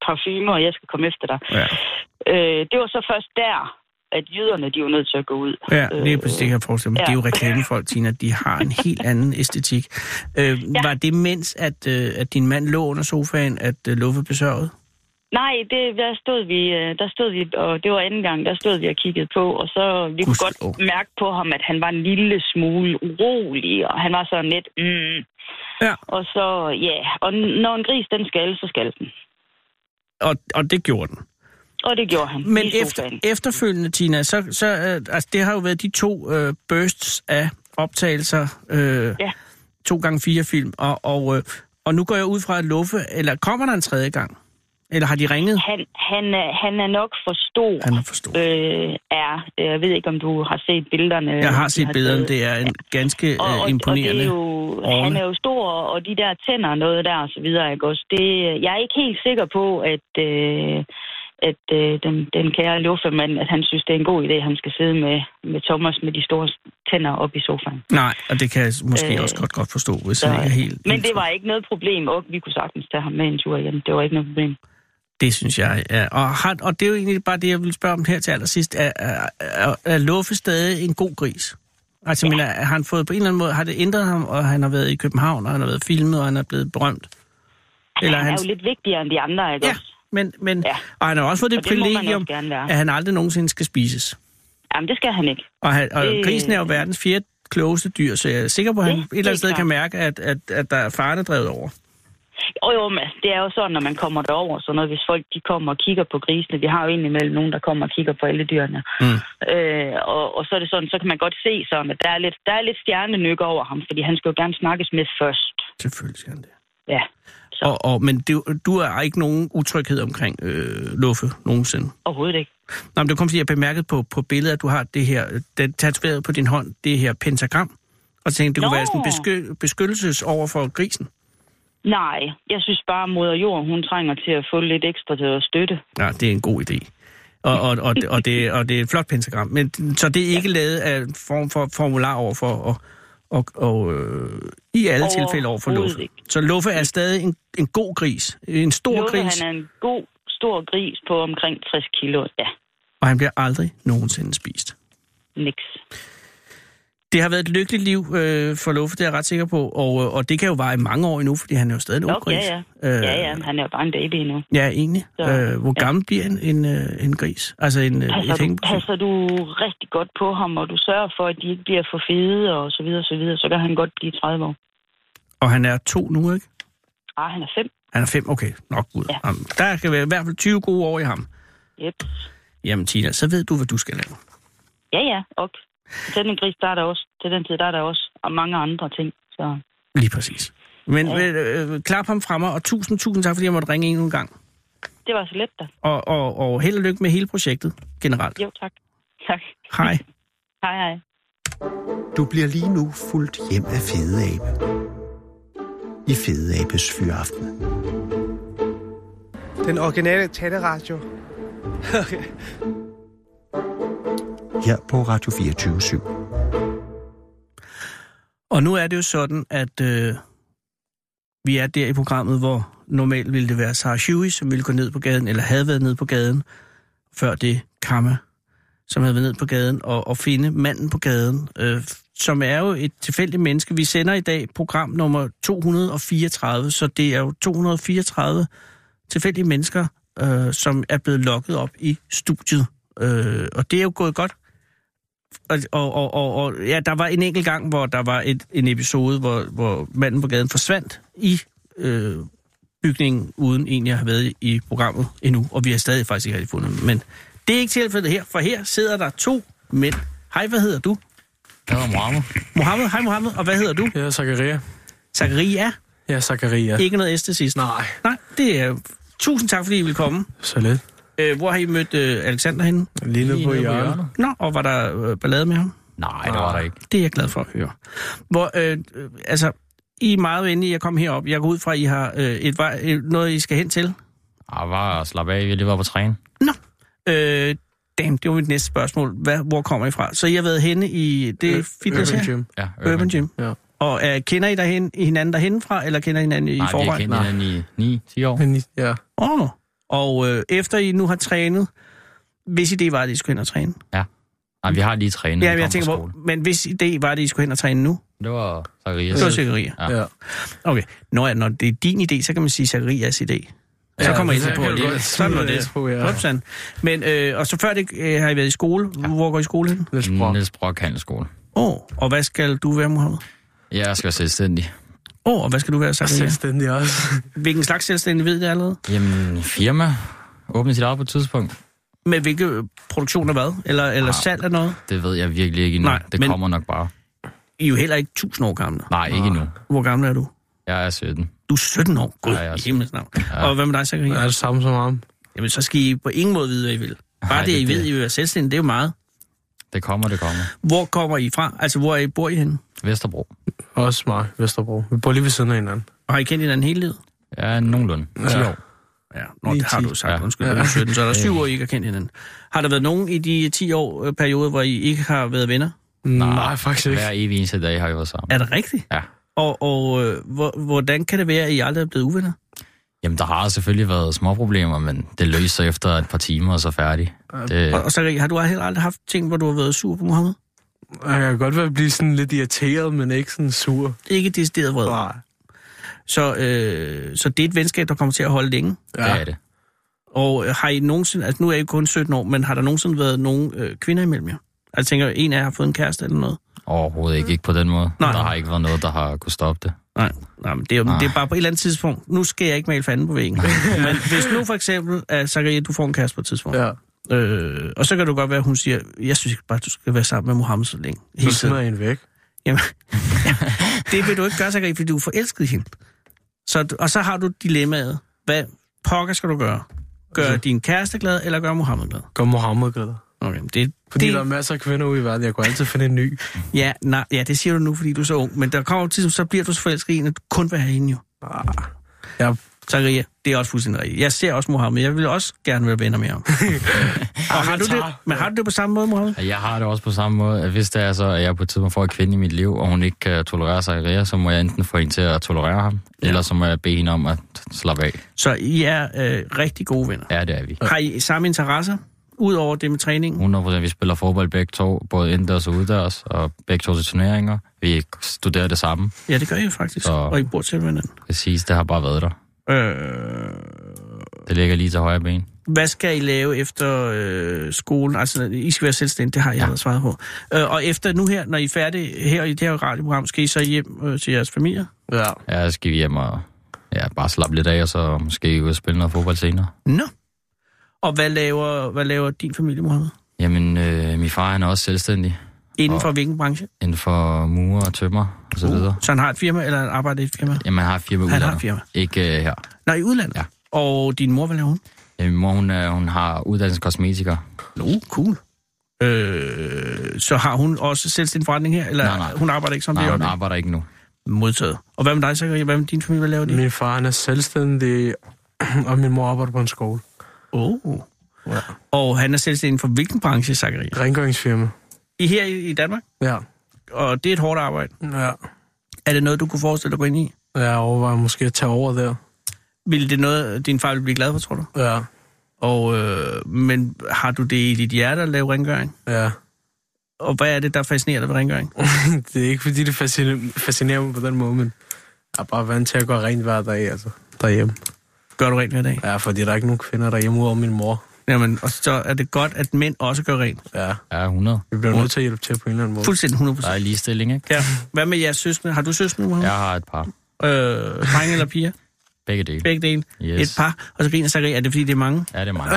Speaker 4: parfume, og jeg skal komme efter dig.
Speaker 5: Ja.
Speaker 4: Øh, det var så først der, at jyderne, de var nødt til at gå ud.
Speaker 5: Ja, det er præcis det, jeg kan forestille mig. Ja.
Speaker 4: Øh, ja.
Speaker 5: Det er jo reklamefolk, Tina. De har en helt anden æstetik. Øh, ja. Var det mens, at, øh, at din mand lå under sofaen, at øh, Luffe besørgede?
Speaker 4: Nej, det, der, stod vi, øh, der stod vi, og det var anden gang, der stod vi og kiggede på, og så vi kunne
Speaker 5: Gud,
Speaker 4: godt
Speaker 5: åh.
Speaker 4: mærke på ham, at han var en lille smule urolig, og han var sådan lidt, mm.
Speaker 5: Ja.
Speaker 4: Og så, ja, og n- når en gris, den skal, så skal den.
Speaker 5: Og, og det gjorde den.
Speaker 4: Og det gjorde han.
Speaker 5: Men
Speaker 4: i
Speaker 5: efter,
Speaker 4: sofaen.
Speaker 5: efterfølgende, Tina, så, så øh, altså, det har jo været de to øh, bursts af optagelser. Øh,
Speaker 4: Ja.
Speaker 5: To gange fire film. Og, og, øh, og nu går jeg ud fra, at Luffe... Eller kommer der en tredje gang? Eller har de ringet?
Speaker 4: Han, han, er- han er nok for stor.
Speaker 5: Han har forstået.
Speaker 4: Øh, er, jeg ved ikke, om du har set billederne. øh,
Speaker 5: Jeg har
Speaker 4: de
Speaker 5: set billederne.
Speaker 4: taget.
Speaker 5: Det er en ganske
Speaker 4: Og,
Speaker 5: øh,
Speaker 4: og, og det
Speaker 5: imponerende.
Speaker 4: er jo, han
Speaker 5: Orne.
Speaker 4: er jo stor, og de der tænder og noget der og så videre, ikke også? Det, jeg er ikke helt sikker på, at, øh, at øh, den, den kære luffemand, at han synes, det er en god idé, at han skal sidde med, med Thomas med de store tænder op i sofaen.
Speaker 5: Nej, og det kan jeg måske øh,
Speaker 4: Øh,
Speaker 5: også godt godt forstå, hvis han ikke er helt...
Speaker 4: men det var ikke noget problem, og vi kunne sagtens tage ham med en tur igen. Det var ikke noget problem.
Speaker 5: Det synes jeg, ja. Og, har, og det er jo egentlig bare det, jeg vil spørge om her til allersidst. Er, er, er, er Luffe stadig en god gris? Altså, ja. men er, har han fået på en eller anden måde... Har det ændret ham, og han har været i København, og han har været filmet, og han er blevet berømt? Eller
Speaker 4: han er
Speaker 5: han...
Speaker 4: jo lidt vigtigere end de andre, ikke
Speaker 5: Ja,
Speaker 4: også?
Speaker 5: men, men ja.
Speaker 4: Ja.
Speaker 5: Og han har også fået det,
Speaker 4: Og det må man
Speaker 5: privilegium,
Speaker 4: også gerne være.
Speaker 5: at han aldrig nogensinde skal spises.
Speaker 4: Jamen, det skal han ikke.
Speaker 5: Og, han, og
Speaker 4: Det-
Speaker 5: grisen er jo verdens fjerde klogeste dyr, så jeg er sikker på, at han
Speaker 4: Det-
Speaker 5: et
Speaker 4: det er
Speaker 5: eller andet sted
Speaker 4: klart.
Speaker 5: kan mærke, at, at, at der er farne drevet over.
Speaker 4: Og jo, men altså, det er jo sådan, når man kommer derover, så noget, hvis folk de kommer og kigger på grisene, vi har jo egentlig mellem nogen, der kommer og kigger på alle dyrene.
Speaker 5: Mm.
Speaker 4: Øh, og, og, så er det sådan, så kan man godt se sådan, at der er lidt, der er lidt stjernenykke over ham, fordi han skal jo gerne snakkes med først.
Speaker 5: Selvfølgelig skal han det.
Speaker 4: Ja. Så
Speaker 5: Og, og, men det, du er ikke nogen utryghed omkring øh, Luffe nogensinde.
Speaker 4: overhovedet ikke.
Speaker 5: Nå, men det kom fordi, jeg bemærkede på, på billedet, at du har det her, øh, den tatoveret på din hånd, det her pentagram. Og så tænkte, jeg, det kunne
Speaker 4: Nå.
Speaker 5: være sådan en besky, beskyttelses over for grisen.
Speaker 4: Nej, jeg synes bare, at moder jord, hun trænger til at få lidt ekstra til at støtte.
Speaker 5: Ja, det er en god idé. Og, og, og, og, det, og det er et flot pentagram. Men, så det er ikke lavet af en form for formular over for, og, og, og øh, i alle
Speaker 4: Overhovedet
Speaker 5: tilfælde over for Luffe.
Speaker 4: ikke.
Speaker 5: Så Luffe er stadig en, en god gris, en stor
Speaker 4: Lukke,
Speaker 5: gris,
Speaker 4: han er en god, stor gris på omkring 60 kilo. Ja,
Speaker 5: og han bliver aldrig nogensinde spist.
Speaker 4: niks.
Speaker 5: Det har været et lykkeligt liv øh, for Luffe, det er jeg ret sikker på, og, øh, og det kan jo vare i mange år endnu, fordi han er jo stadig en ung
Speaker 4: Nok, ja,
Speaker 5: gris.
Speaker 4: ja.
Speaker 5: Øh,
Speaker 4: Ja, ja, men han er jo bare en baby endnu.
Speaker 5: Ja, egentlig.
Speaker 4: Så,
Speaker 5: øh, hvor
Speaker 4: ja.
Speaker 5: gammel bliver en, en, øh, en gris? Altså en, øh, et
Speaker 4: passer, du,
Speaker 5: hængeparti?
Speaker 4: passer du rigtig godt på ham, og du sørger for, at de ikke bliver for fede, og så videre, så videre, så kan han godt blive 30 år.
Speaker 5: Og han er to nu, ikke?
Speaker 4: Ah, han er fem.
Speaker 5: Han er fem, okay. Nok ud.
Speaker 4: Ja.
Speaker 5: Jamen, Der kan være i hvert fald 20 gode år i ham.
Speaker 4: Yep.
Speaker 5: Jamen Tina, så ved du, hvad du skal lave.
Speaker 4: Ja, ja, ok. Til den gris, der er der også. Til den tid, der er der også. Og mange andre ting. Så
Speaker 5: Lige præcis. Men
Speaker 4: Ja.
Speaker 5: øh, øh, klap ham fremme, og tusind, tusind tak, fordi jeg måtte ringe endnu en gang.
Speaker 4: det var så let da.
Speaker 5: Og, og, og held og lykke med hele projektet generelt.
Speaker 4: Jo, tak. Tak.
Speaker 5: Hej.
Speaker 4: Hej, hej.
Speaker 3: Du bliver lige nu fuldt hjem af Fede Abe. I Fede Abes Fyraften.
Speaker 9: Den originale taleradio.
Speaker 3: Her på Radio 24 /7.
Speaker 5: Og nu er det jo sådan, at øh, vi er der i programmet, hvor normalt ville det være Sarah Shuey, som ville gå ned på gaden, eller havde været nede på gaden, før det Kamma, som havde været ned på gaden, og, og finde manden på gaden, øh, som er jo et tilfældigt menneske. Vi sender i dag program nummer 234, så det er jo 234 tilfældige mennesker, øh, som er blevet lokket op i studiet. Øh, og det er jo gået godt. Og, og, og, og, og ja, der var en enkelt gang, hvor der var et, en episode, hvor, hvor manden på gaden forsvandt i øh, bygningen, uden egentlig at have været i programmet endnu. Og vi har stadig faktisk ikke rigtig fundet ham. Men det er ikke tilfældet her, for her sidder der to mænd. Hej, hvad hedder du?
Speaker 10: Jeg hedder Mohammed.
Speaker 5: Mohammed, hej Mohammed, og hvad hedder du?
Speaker 10: Jeg hedder Zakaria.
Speaker 5: Zakaria?
Speaker 10: Ja, Zakaria.
Speaker 5: Ikke noget S til sidst?
Speaker 10: Nej.
Speaker 5: Nej, det er... Tusind tak, fordi I ville komme.
Speaker 10: Så lidt.
Speaker 5: Øh, hvor har I mødt øh, Alexander henne?
Speaker 10: Lige nede på hjørnet.
Speaker 5: Nå, og var der øh, ballade med ham?
Speaker 10: Nej, det var der ikke.
Speaker 5: Det er jeg glad for at høre. Hvor, øh, øh, altså, I er meget venlige, jeg kom herop. Jeg går ud fra, at I har øh, et vej, øh, noget, I skal hen til.
Speaker 10: Jeg var og slappe af, vi lige var på træen.
Speaker 5: Nå. Øh, damn, det var mit næste spørgsmål. Hvad, hvor kommer I fra? Så I har været henne i det Ur- fitness
Speaker 10: Øh, Urban
Speaker 5: her?
Speaker 10: Gym. Ja,
Speaker 5: Urban Gym.
Speaker 10: Ja.
Speaker 5: Og øh, kender I derhen, hinanden derhenfra, eller kender I hinanden i
Speaker 10: Nej, vi har
Speaker 5: forvejen?
Speaker 10: kendt hinanden i 9-10 år.
Speaker 11: Men, ja.
Speaker 5: Åh, oh, og øh, efter I nu har trænet, hvis idé var, at I skulle hen og træne?
Speaker 10: Nej, vi har lige trænet.
Speaker 5: Ja,
Speaker 10: vi
Speaker 5: men jeg
Speaker 10: kom
Speaker 5: tænker,
Speaker 10: fra
Speaker 5: hvor,
Speaker 10: skole.
Speaker 5: men hvis idé var, at I skulle hen og træne nu?
Speaker 10: Det var Zacharias.
Speaker 5: Det var Zacharias.
Speaker 10: Ja.
Speaker 5: Okay. Nå, ja, når det er din idé, så kan man sige Zacharias idé. Så kommer I
Speaker 10: så
Speaker 5: til på
Speaker 10: kan du
Speaker 5: det.
Speaker 10: godt
Speaker 5: Sådan var
Speaker 11: smide
Speaker 5: det.
Speaker 11: det på, ja.
Speaker 5: Hopsan. Men, øh, og så før det øh, har I været i skole. Hvor går I i skole hen?
Speaker 11: Lidt sprog.
Speaker 10: Niels Brock Handelsskole.
Speaker 5: Åh, oh, og hvad skal du være, Mohammed?
Speaker 10: Jeg skal være selvstændig.
Speaker 5: Åh, oh, og hvad skal du være,
Speaker 11: Og
Speaker 5: Zacharias?
Speaker 11: selvstændig også.
Speaker 5: *laughs* Hvilken slags selvstændig ved det allerede?
Speaker 10: Jamen, firma. Åbne sit eget på et tidspunkt.
Speaker 5: Med hvilke øh, produktion af hvad? Eller, eller
Speaker 10: Ah.
Speaker 5: salg af noget?
Speaker 10: Det ved jeg virkelig ikke endnu.
Speaker 5: Nej,
Speaker 10: Nej, det
Speaker 5: men-
Speaker 10: men... kommer nok bare.
Speaker 5: I er jo heller ikke 1000 år gamle.
Speaker 10: Nej, ikke endnu.
Speaker 5: Hvor gammel er du?
Speaker 10: Jeg er 17.
Speaker 5: Du er 17 år. Gud,
Speaker 10: Ja, jeg er
Speaker 5: i
Speaker 10: 17.
Speaker 5: himlens navn.
Speaker 10: Ja.
Speaker 5: Og hvad med dig, Zacharias?
Speaker 11: Er det samme som ham?
Speaker 5: Jamen, så skal I på ingen måde vide, hvad I vil. Bare
Speaker 10: Nej,
Speaker 5: det,
Speaker 10: det
Speaker 5: I
Speaker 10: er
Speaker 5: ved,
Speaker 10: det.
Speaker 5: I vil være selvstændige, det er jo meget.
Speaker 10: Det kommer, det kommer.
Speaker 5: Hvor kommer I fra? Altså, hvor er I, bor I henne?
Speaker 10: Vesterbro.
Speaker 11: Også mig, Vesterbro. Vi bor lige ved siden af hinanden.
Speaker 5: Og har I kendt hinanden hele livet?
Speaker 10: Ja, nogenlunde. 10
Speaker 11: Ja.
Speaker 10: år.
Speaker 5: Ja, Nå, det har du sagt. Ja.
Speaker 10: Ja.
Speaker 5: Undskyld, ja. 17, så er der syv år, I ikke har kendt hinanden. Har der været nogen i de 10 år øh, perioder, hvor I ikke har været venner?
Speaker 11: Nej, faktisk ikke.
Speaker 10: Hver evig eneste dag har vi været sammen.
Speaker 5: Er det rigtigt?
Speaker 10: Ja.
Speaker 5: Og, og øh, hvor, hvordan kan det være, at I aldrig er blevet uvenner?
Speaker 10: Jamen, der har selvfølgelig været små problemer, men det løser sig efter et par timer, og så færdig. Det,
Speaker 5: Øh, Og, og så har du heller aldrig haft ting, hvor du har været sur på Mohammed?
Speaker 11: Jeg kan godt være blive sådan lidt irriteret, men ikke sådan sur.
Speaker 5: Ikke decideret vred.
Speaker 11: Nej.
Speaker 5: Så, øh, så det er et venskab, der kommer til at holde længe.
Speaker 10: det er det.
Speaker 5: Og øh, har I nogensinde, altså nu er I kun 17 år, men har der nogensinde været nogen øh, kvinder imellem jer? Altså tænker, en af jer har fået en kæreste eller noget?
Speaker 10: Overhovedet ikke, ikke på den måde.
Speaker 5: Nej.
Speaker 10: Der har ikke været noget, der har kunne stoppe det.
Speaker 5: Nej, nej men det, er, jo-
Speaker 10: Nej.
Speaker 5: det er bare på et eller andet tidspunkt. Nu skal jeg ikke male fanden på
Speaker 11: *laughs*
Speaker 5: væggen. men hvis nu for eksempel, at Zakaria, du får en kæreste på et tidspunkt,
Speaker 11: Ja.
Speaker 5: ja. øh, og så kan du godt være, at hun siger, jeg synes ikke bare, du skal være sammen med Mohammed så længe.
Speaker 11: Så
Speaker 5: Hele tiden.
Speaker 11: smider jeg hende væk.
Speaker 5: Jamen, det vil du ikke gøre, Zakaria, fordi du er forelsket i hende. Så, du- og så har du dilemmaet. Hvad pokker skal du gøre? Gør
Speaker 11: Altså-
Speaker 5: din kæreste glad, eller gør Mohammed glad?
Speaker 11: Gør Mohammed glad.
Speaker 5: Okay, men det,
Speaker 11: Fordi
Speaker 5: det,
Speaker 11: det... der er masser af kvinder ude i verden. Jeg kunne altid finde en ny. *clears throat*
Speaker 5: Ja, nej, ja, det siger du nu, fordi du er så ung. Men der kommer jo tid, så bliver du så forelsket i en, at du kun vil have hende jo.
Speaker 11: Jeg,
Speaker 5: Zakaria, det er også fuldstændig rigtigt. Jeg ser også Mohammed. Jeg vil også gerne være venner med ham. og har du det, men har du det på samme måde, Mohammed?
Speaker 10: Jeg har det også på samme måde, at hvis det er så, at jeg på et tidspunkt får en kvinde i mit liv, og hun ikke kan tolerere Zakaria, så må jeg enten få hende til at tolerere ham, ja. eller så må jeg bede hende om at slappe af.
Speaker 5: Så I er øh, rigtig gode venner.
Speaker 10: Ja, det er vi.
Speaker 5: Ja. Har I samme interesser? Udover det med træningen?
Speaker 10: 100% vi spiller fodbold begge to, både indendørs og udendørs, og begge to til turneringer. Vi studerer det samme.
Speaker 5: Ja, det gør I faktisk.
Speaker 10: Så-
Speaker 5: Og I bor til hinanden.
Speaker 10: Præcis, det har bare været der.
Speaker 5: Øh,
Speaker 10: Det ligger lige til højre ben.
Speaker 5: hvad skal I lave efter øh, skolen? Altså, I skal være selvstændige, det har jeg ja. allerede svaret på. Øh, og efter nu her, når I er færdige her i det her radioprogram, skal I så hjem øh, til jeres familier?
Speaker 11: ja.
Speaker 10: Ja, så skal vi hjem og ja, bare slappe lidt af, og så måske ud og spille noget fodbold senere.
Speaker 5: Nå. Og hvad laver, hvad laver din familie, Mohammed?
Speaker 10: Jamen, øh, min far han er også selvstændig
Speaker 5: Inden
Speaker 10: Og-
Speaker 5: for hvilken branche?
Speaker 10: inden for murer og tømmer og så videre.
Speaker 5: Så han har et firma, eller han arbejder i et firma?
Speaker 10: Jamen, han har et firma
Speaker 5: Uh. Han har
Speaker 10: udlandet.
Speaker 5: et firma.
Speaker 10: Ikke øh, her.
Speaker 5: Nå, i udlandet?
Speaker 10: Ja.
Speaker 5: Og din mor, hvad laver hun?
Speaker 10: Ja, Min mor, hun, er, hun har uddannelse kosmetiker.
Speaker 5: Nå, cool. Øh, så har hun også selvstændig forretning her? Eller
Speaker 10: Nej, nej.
Speaker 5: hun arbejder ikke som
Speaker 10: Nej,
Speaker 5: det?
Speaker 10: hun
Speaker 5: Nej,
Speaker 10: arbejder ikke nu.
Speaker 5: Modtaget. Og hvad med dig, Zachary? Hvad med din familie? Hvad laver de?
Speaker 11: Min far han er selvstændig, og min mor arbejder på en skole.
Speaker 5: Oh.
Speaker 11: Ja.
Speaker 5: Og han er selvstændig for hvilken branche, Zachary?
Speaker 11: Rengøringsfirma.
Speaker 5: I her i, i Danmark?
Speaker 11: Ja.
Speaker 5: Og det er et hårdt arbejde.
Speaker 11: Ja.
Speaker 5: Er det noget, du kunne forestille dig at gå ind i?
Speaker 11: Jeg overvejer måske at tage over der.
Speaker 5: Vil det noget, din far ville blive glad for, tror du?
Speaker 11: Ja.
Speaker 5: Og, øh, men har du det i dit hjerte at lave rengøring?
Speaker 11: Ja.
Speaker 5: Og hvad er det, der fascinerer dig ved rengøring?
Speaker 11: det er ikke, fordi det fascinerer, fascinerer mig på den måde, men jeg er bare vant til at gøre rent hver dag, altså, derhjemme.
Speaker 5: Gør du rent hver dag?
Speaker 11: Ja, fordi der er ikke nogen kvinder derhjemme udover min mor.
Speaker 5: Jamen, og så er det godt, at mænd også gør rent.
Speaker 11: Ja.
Speaker 10: Ja, 100.
Speaker 11: Vi bliver nødt til at hjælpe til på en eller anden måde.
Speaker 5: Fuldstændig 100
Speaker 10: Der er
Speaker 5: procent.
Speaker 10: ligestilling, ikke?
Speaker 5: Ja. Hvad med jeres søskende? Har du søskende, Mohammed?
Speaker 10: Jeg har et par.
Speaker 5: Øh, drenge eller piger?
Speaker 10: Begge dele.
Speaker 5: Begge dele.
Speaker 10: Yes.
Speaker 5: Et par. Og så griner Zachary. Er det, fordi det er mange?
Speaker 10: Ja, det
Speaker 5: *laughs*
Speaker 10: er mange.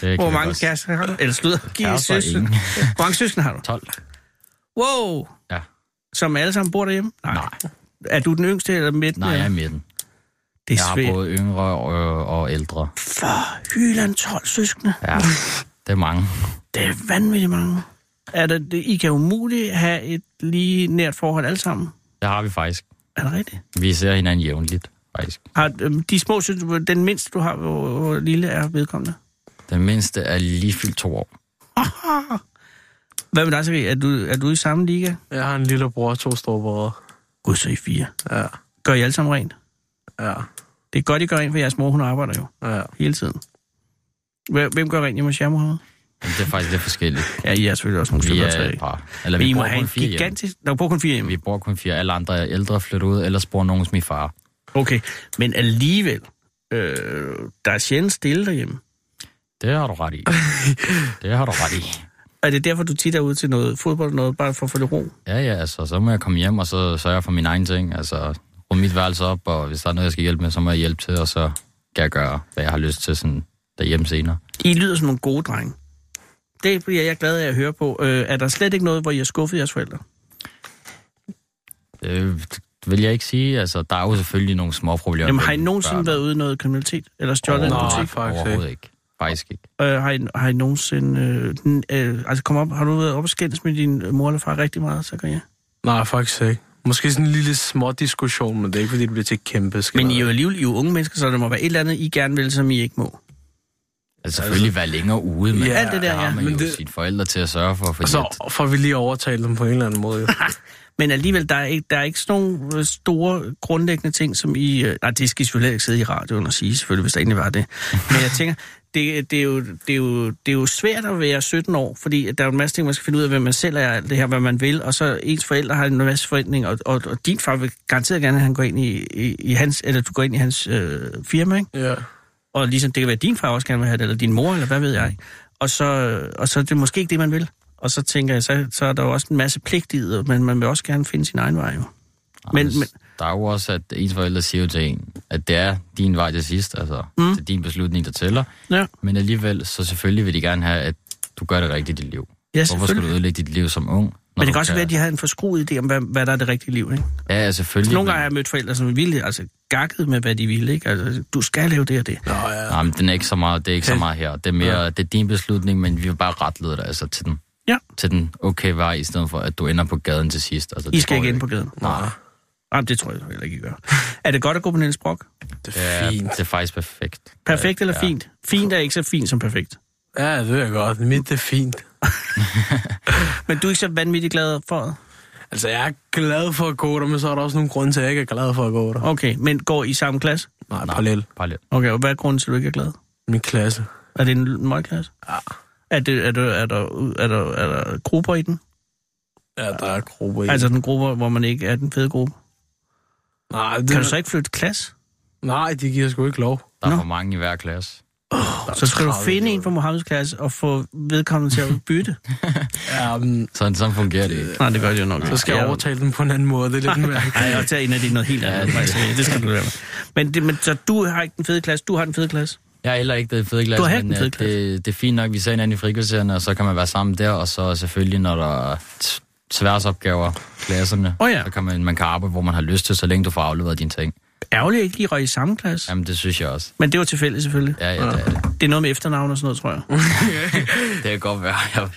Speaker 10: Det
Speaker 5: Hvor
Speaker 10: kan
Speaker 5: mange
Speaker 10: godt-
Speaker 5: kærester har du? Eller slutter. Giv
Speaker 10: Kærester er
Speaker 5: søskende.
Speaker 10: ingen.
Speaker 5: Hvor mange søskende har du?
Speaker 10: 12.
Speaker 5: Wow!
Speaker 10: Ja.
Speaker 5: Som alle sammen bor derhjemme?
Speaker 10: Nej.
Speaker 5: Er du den yngste eller midten?
Speaker 10: Nej, jeg
Speaker 5: eller?
Speaker 10: er midten.
Speaker 5: det
Speaker 10: Jeg
Speaker 5: er
Speaker 10: har
Speaker 5: svært.
Speaker 10: både yngre og, og ældre.
Speaker 5: For Hyland 12 søskende. *laughs*
Speaker 10: Ja, det er mange.
Speaker 5: Det er vanvittigt mange. Er det, det, I kan umuligt have et lige nært forhold alle sammen.
Speaker 10: Det har vi faktisk.
Speaker 5: Er det rigtigt?
Speaker 10: Vi ser hinanden jævnligt, faktisk.
Speaker 5: Har, øhm, de små søskende, den mindste du har, hvor, hvor lille er vedkommende?
Speaker 10: Den mindste er lige fyldt to år.
Speaker 5: Hvad med dig, Sari? Er du, er du i samme liga?
Speaker 11: Jeg har en lille bror og to store brødre.
Speaker 5: Gud, så er I fire.
Speaker 11: Ja,
Speaker 5: Gør I alle sammen rent?
Speaker 11: ja,
Speaker 5: Det er godt, I gør rent, for jeres mor, hun arbejder jo
Speaker 11: ja.
Speaker 5: hele tiden. Hvem hvem gør rent hjemme hos jer, Mohammed?
Speaker 10: Jamen, det er faktisk lidt forskelligt.
Speaker 5: Ja, I er selvfølgelig også nogle
Speaker 10: Vi
Speaker 5: stykker
Speaker 10: er
Speaker 5: tre.
Speaker 10: et par. Eller
Speaker 5: Men I
Speaker 10: vi
Speaker 5: må
Speaker 10: bor
Speaker 5: have
Speaker 10: kun
Speaker 5: en
Speaker 10: fire hjemme.
Speaker 5: gigantisk... Der er kun fire hjemme.
Speaker 10: Vi bor kun fire. Alle andre er ældre og flytter ud, ellers bor nogen hos min far.
Speaker 5: Okay, men alligevel, øh, der er sjældent stille derhjemme.
Speaker 10: Det har du ret i. det har du ret i.
Speaker 5: Er det derfor, du tit er ude til noget fodbold og noget, bare for at få lidt ro?
Speaker 10: Ja, ja, altså, så må jeg komme hjem, og så sørger jeg for mine egne ting. Altså, rum mit værelse op, og hvis der er noget, jeg skal hjælpe med, så må jeg hjælpe til, og så kan jeg gøre, hvad jeg har lyst til sådan derhjemme senere.
Speaker 5: I lyder som nogle gode drenge. Det bliver jeg glad af at høre på. Øh, er der slet ikke noget, hvor I har skuffet jeres forældre?
Speaker 10: Øh, det vil jeg ikke sige. Altså, der er jo selvfølgelig nogle små problemer.
Speaker 5: Jamen, har I
Speaker 10: mellem
Speaker 5: nogensinde
Speaker 10: børn.
Speaker 5: været ude i noget kriminalitet? Eller stjålet en
Speaker 11: Overhovedet
Speaker 5: butik?
Speaker 11: ikke. faktisk
Speaker 10: Overhovedet ikke. Faktisk ikke. Altså,
Speaker 5: Øh, har, I, har I nogensinde... Øh, den, øh, altså, kom op, har du været op og skændes med din øh, mor eller far rigtig meget, så kan jeg.
Speaker 11: Nej, faktisk ikke. Måske sådan en lille små diskussion, men det er ikke, fordi det bliver til kæmpe skænderi.
Speaker 5: Men I er jo alligevel I er jo unge mennesker, så der må være et eller andet, I gerne vil, som I ikke må.
Speaker 10: Altså, selvfølgelig være længere ude, men
Speaker 11: Ja,
Speaker 10: ja,
Speaker 5: alt det Altså, der,
Speaker 10: har
Speaker 5: ja.
Speaker 10: man
Speaker 11: Men
Speaker 10: jo
Speaker 11: det-
Speaker 10: sine forældre til at sørge for. Fordi at,
Speaker 11: Så får vi lige overtalt dem på en eller anden
Speaker 5: *laughs*
Speaker 11: måde. jo.
Speaker 5: Men alligevel, der er ikke, der er ikke sådan nogle øh, store grundlæggende ting, som I... Øh, nej, det skal I selvfølgelig ikke sidde i radioen og sige, selvfølgelig, hvis der egentlig var det. Men jeg tænker, det, det, er jo, det, er jo, det er jo svært at være 17 år, fordi at der er jo en masse ting, man skal finde ud af, hvem man selv er, alt det her, hvad man vil, og så ens forældre har en masse forventninger, og, og, og din far vil garanteret gerne, at han går ind i, i, i hans, eller du går ind i hans øh, firma, ikke?
Speaker 11: Ja.
Speaker 5: Og ligesom det kan være, at din far også gerne vil have det, eller din mor, eller hvad ved jeg. Og så, og så er det måske ikke det, man vil. Og så tænker jeg, så, så er der jo også en masse pligt i det, men man vil også gerne finde sin egen vej. Jo. Men,
Speaker 10: Anders,
Speaker 5: men
Speaker 10: Der er jo også, at ens forældre siger jo til en, at det er din vej til sidst, altså mm. det er din beslutning, der tæller.
Speaker 5: ja,
Speaker 10: Men alligevel, så selvfølgelig vil de gerne have, at du gør det rigtigt i dit liv.
Speaker 5: ja
Speaker 10: Hvorfor skal du
Speaker 5: selvfølgelig.
Speaker 10: ødelægge dit liv som ung?
Speaker 5: Men
Speaker 10: når
Speaker 5: det
Speaker 10: du
Speaker 5: kan også være, at de har en forskruet idé om, hvad, hvad der er det rigtige liv. Ikke? Altså,
Speaker 10: Ja, ja, selvfølgelig.
Speaker 5: Nogle gange
Speaker 10: men-
Speaker 5: har jeg mødt forældre, som ville, altså gakket med, hvad de ville. Ikke? Altså, du skal lave det og det.
Speaker 11: Nå, ja.
Speaker 10: Nej, men den er ikke så meget, det er ikke så meget her. Det er mere, det er din beslutning, men vi vil bare retlede dig altså, til den,
Speaker 5: Ja.
Speaker 10: til den okay vej, i stedet for, at du ender på gaden til sidst. Altså,
Speaker 5: I
Speaker 10: det
Speaker 5: skal
Speaker 10: tror
Speaker 5: ikke
Speaker 10: jeg
Speaker 5: ind på gaden.
Speaker 10: Nej,
Speaker 5: Jamen, det tror jeg heller ikke, I gør. Er det godt at gå på Niels Brock?
Speaker 11: Det
Speaker 10: det
Speaker 11: er
Speaker 10: er,
Speaker 11: fint.
Speaker 10: det er faktisk perfekt.
Speaker 5: Perfekt eller
Speaker 10: Ja.
Speaker 5: fint? Fint er ikke så fint som perfekt.
Speaker 11: Ja, det ved jeg godt. Mit det er fint.
Speaker 5: Men du er ikke så vanvittigt glad for det?
Speaker 11: Altså, jeg er glad for at gå der, men så er der også nogle grunde til, at jeg ikke er glad for at gå der.
Speaker 5: Okay, men går I samme klasse?
Speaker 11: Nej, parallel.
Speaker 10: Parallelt.
Speaker 5: Okay, og hvad er grunden til, at du ikke er glad?
Speaker 11: Min klasse.
Speaker 5: Er det en møgklasse?
Speaker 11: Ja.
Speaker 5: Er, det, er, det, er, der, er, der, er der grupper i den?
Speaker 11: Ja, der er grupper i.
Speaker 5: Altså den gruppe, hvor man ikke er den fede gruppe?
Speaker 11: nej, det,
Speaker 5: Kan du så ikke flytte klasse?
Speaker 11: nej, de giver sgu ikke lov.
Speaker 10: Der er
Speaker 5: Nå.
Speaker 10: for mange i hver klasse.
Speaker 5: Så skal du
Speaker 11: 30
Speaker 5: finde en
Speaker 11: elever.
Speaker 5: fra Mohammeds klasse og få vedkommende til at
Speaker 10: *laughs*
Speaker 5: bytte?
Speaker 11: Ja, men,
Speaker 10: Sådan, sådan fungerer det ikke.
Speaker 5: Nej, det gør det jo nok.
Speaker 11: så skal jeg overtale dem på en anden måde. Det er lidt
Speaker 5: *laughs* Nej,
Speaker 11: mærkeligt.
Speaker 5: jeg tager en af det noget helt andet.
Speaker 10: Ja, det-
Speaker 5: det, det skal du lade være. men, det, men så du har ikke den fede klasse, du har den fede klasse.
Speaker 10: Jeg er heller ikke den fede klasse,
Speaker 5: Du har heller
Speaker 10: men
Speaker 5: ikke den
Speaker 10: øh,
Speaker 5: fede
Speaker 10: det, det er fint nok, vi ser hinanden i frikvartererne, og så kan man være sammen der, og så selvfølgelig, når der er t- tværsopgaver klasserne,
Speaker 5: Åh ja.
Speaker 10: så kan man, man kan arbejde, hvor man har lyst til, så længe du får afleveret dine ting.
Speaker 5: Ærgerligt ikke, I røg i samme klasse.
Speaker 10: Jamen, det synes jeg også.
Speaker 5: Men det var tilfældigt selvfølgelig.
Speaker 10: Ja, ja, det er det.
Speaker 5: Det er noget med efternavn og sådan noget, tror jeg.
Speaker 10: Det kan godt være. Jeg,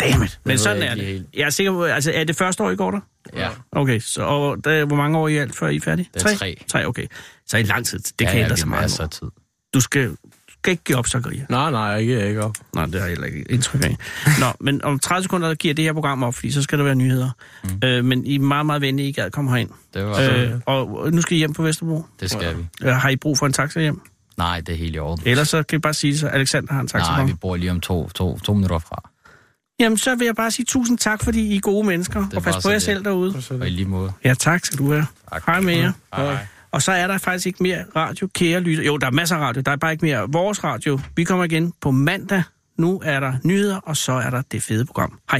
Speaker 5: Dammit. Men
Speaker 10: ved
Speaker 5: sådan
Speaker 10: jeg
Speaker 5: er
Speaker 10: ikke lige
Speaker 5: det.
Speaker 10: helt.
Speaker 5: Jeg er sikker på, altså er det første år, I går der?
Speaker 10: ja.
Speaker 5: Okay, så og der, hvor mange år i alt, før I er færdige?
Speaker 10: Det er tre.
Speaker 5: Tre, okay. Så i lang tid. Det
Speaker 10: ja,
Speaker 5: kan
Speaker 10: ja,
Speaker 5: ændre
Speaker 10: vi
Speaker 5: sig
Speaker 10: har
Speaker 5: meget.
Speaker 10: masser af
Speaker 5: nu.
Speaker 10: tid.
Speaker 5: Du skal, du skal ikke give op, Zakaria.
Speaker 11: Nej, nej, jeg giver ikke op.
Speaker 5: Nej, det har jeg heller ikke indtryk af. *laughs* Nå, men om 30 sekunder der giver det her program op, fordi så skal der være nyheder. Mm. Øh, men I er meget, meget venlige, I gad komme herind.
Speaker 10: Det, var, øh,
Speaker 5: Øh, og nu skal I hjem på Vesterbro.
Speaker 10: det skal vi.
Speaker 5: Øh, har I brug for en taxa hjem?
Speaker 10: Nej, det er helt i orden.
Speaker 5: Ellers så kan jeg bare sige, at Alexander har en
Speaker 10: Nej,
Speaker 5: saxofon.
Speaker 10: vi bor lige om to, to, to minutter fra.
Speaker 5: Jamen, så vil jeg bare sige tusind tak, fordi I er gode mennesker, og pas
Speaker 10: bare
Speaker 5: på
Speaker 10: så
Speaker 5: jer
Speaker 10: lidt.
Speaker 5: selv derude.
Speaker 10: Og i lige måde.
Speaker 5: Ja, tak skal du have. Hej med jer.
Speaker 10: Hej.
Speaker 5: Og så er der faktisk ikke mere radio, kære lytter. Jo, der er masser af radio, der er bare ikke mere vores radio. Vi kommer igen på mandag. Nu er der nyheder, og så er der det fede program. Hej.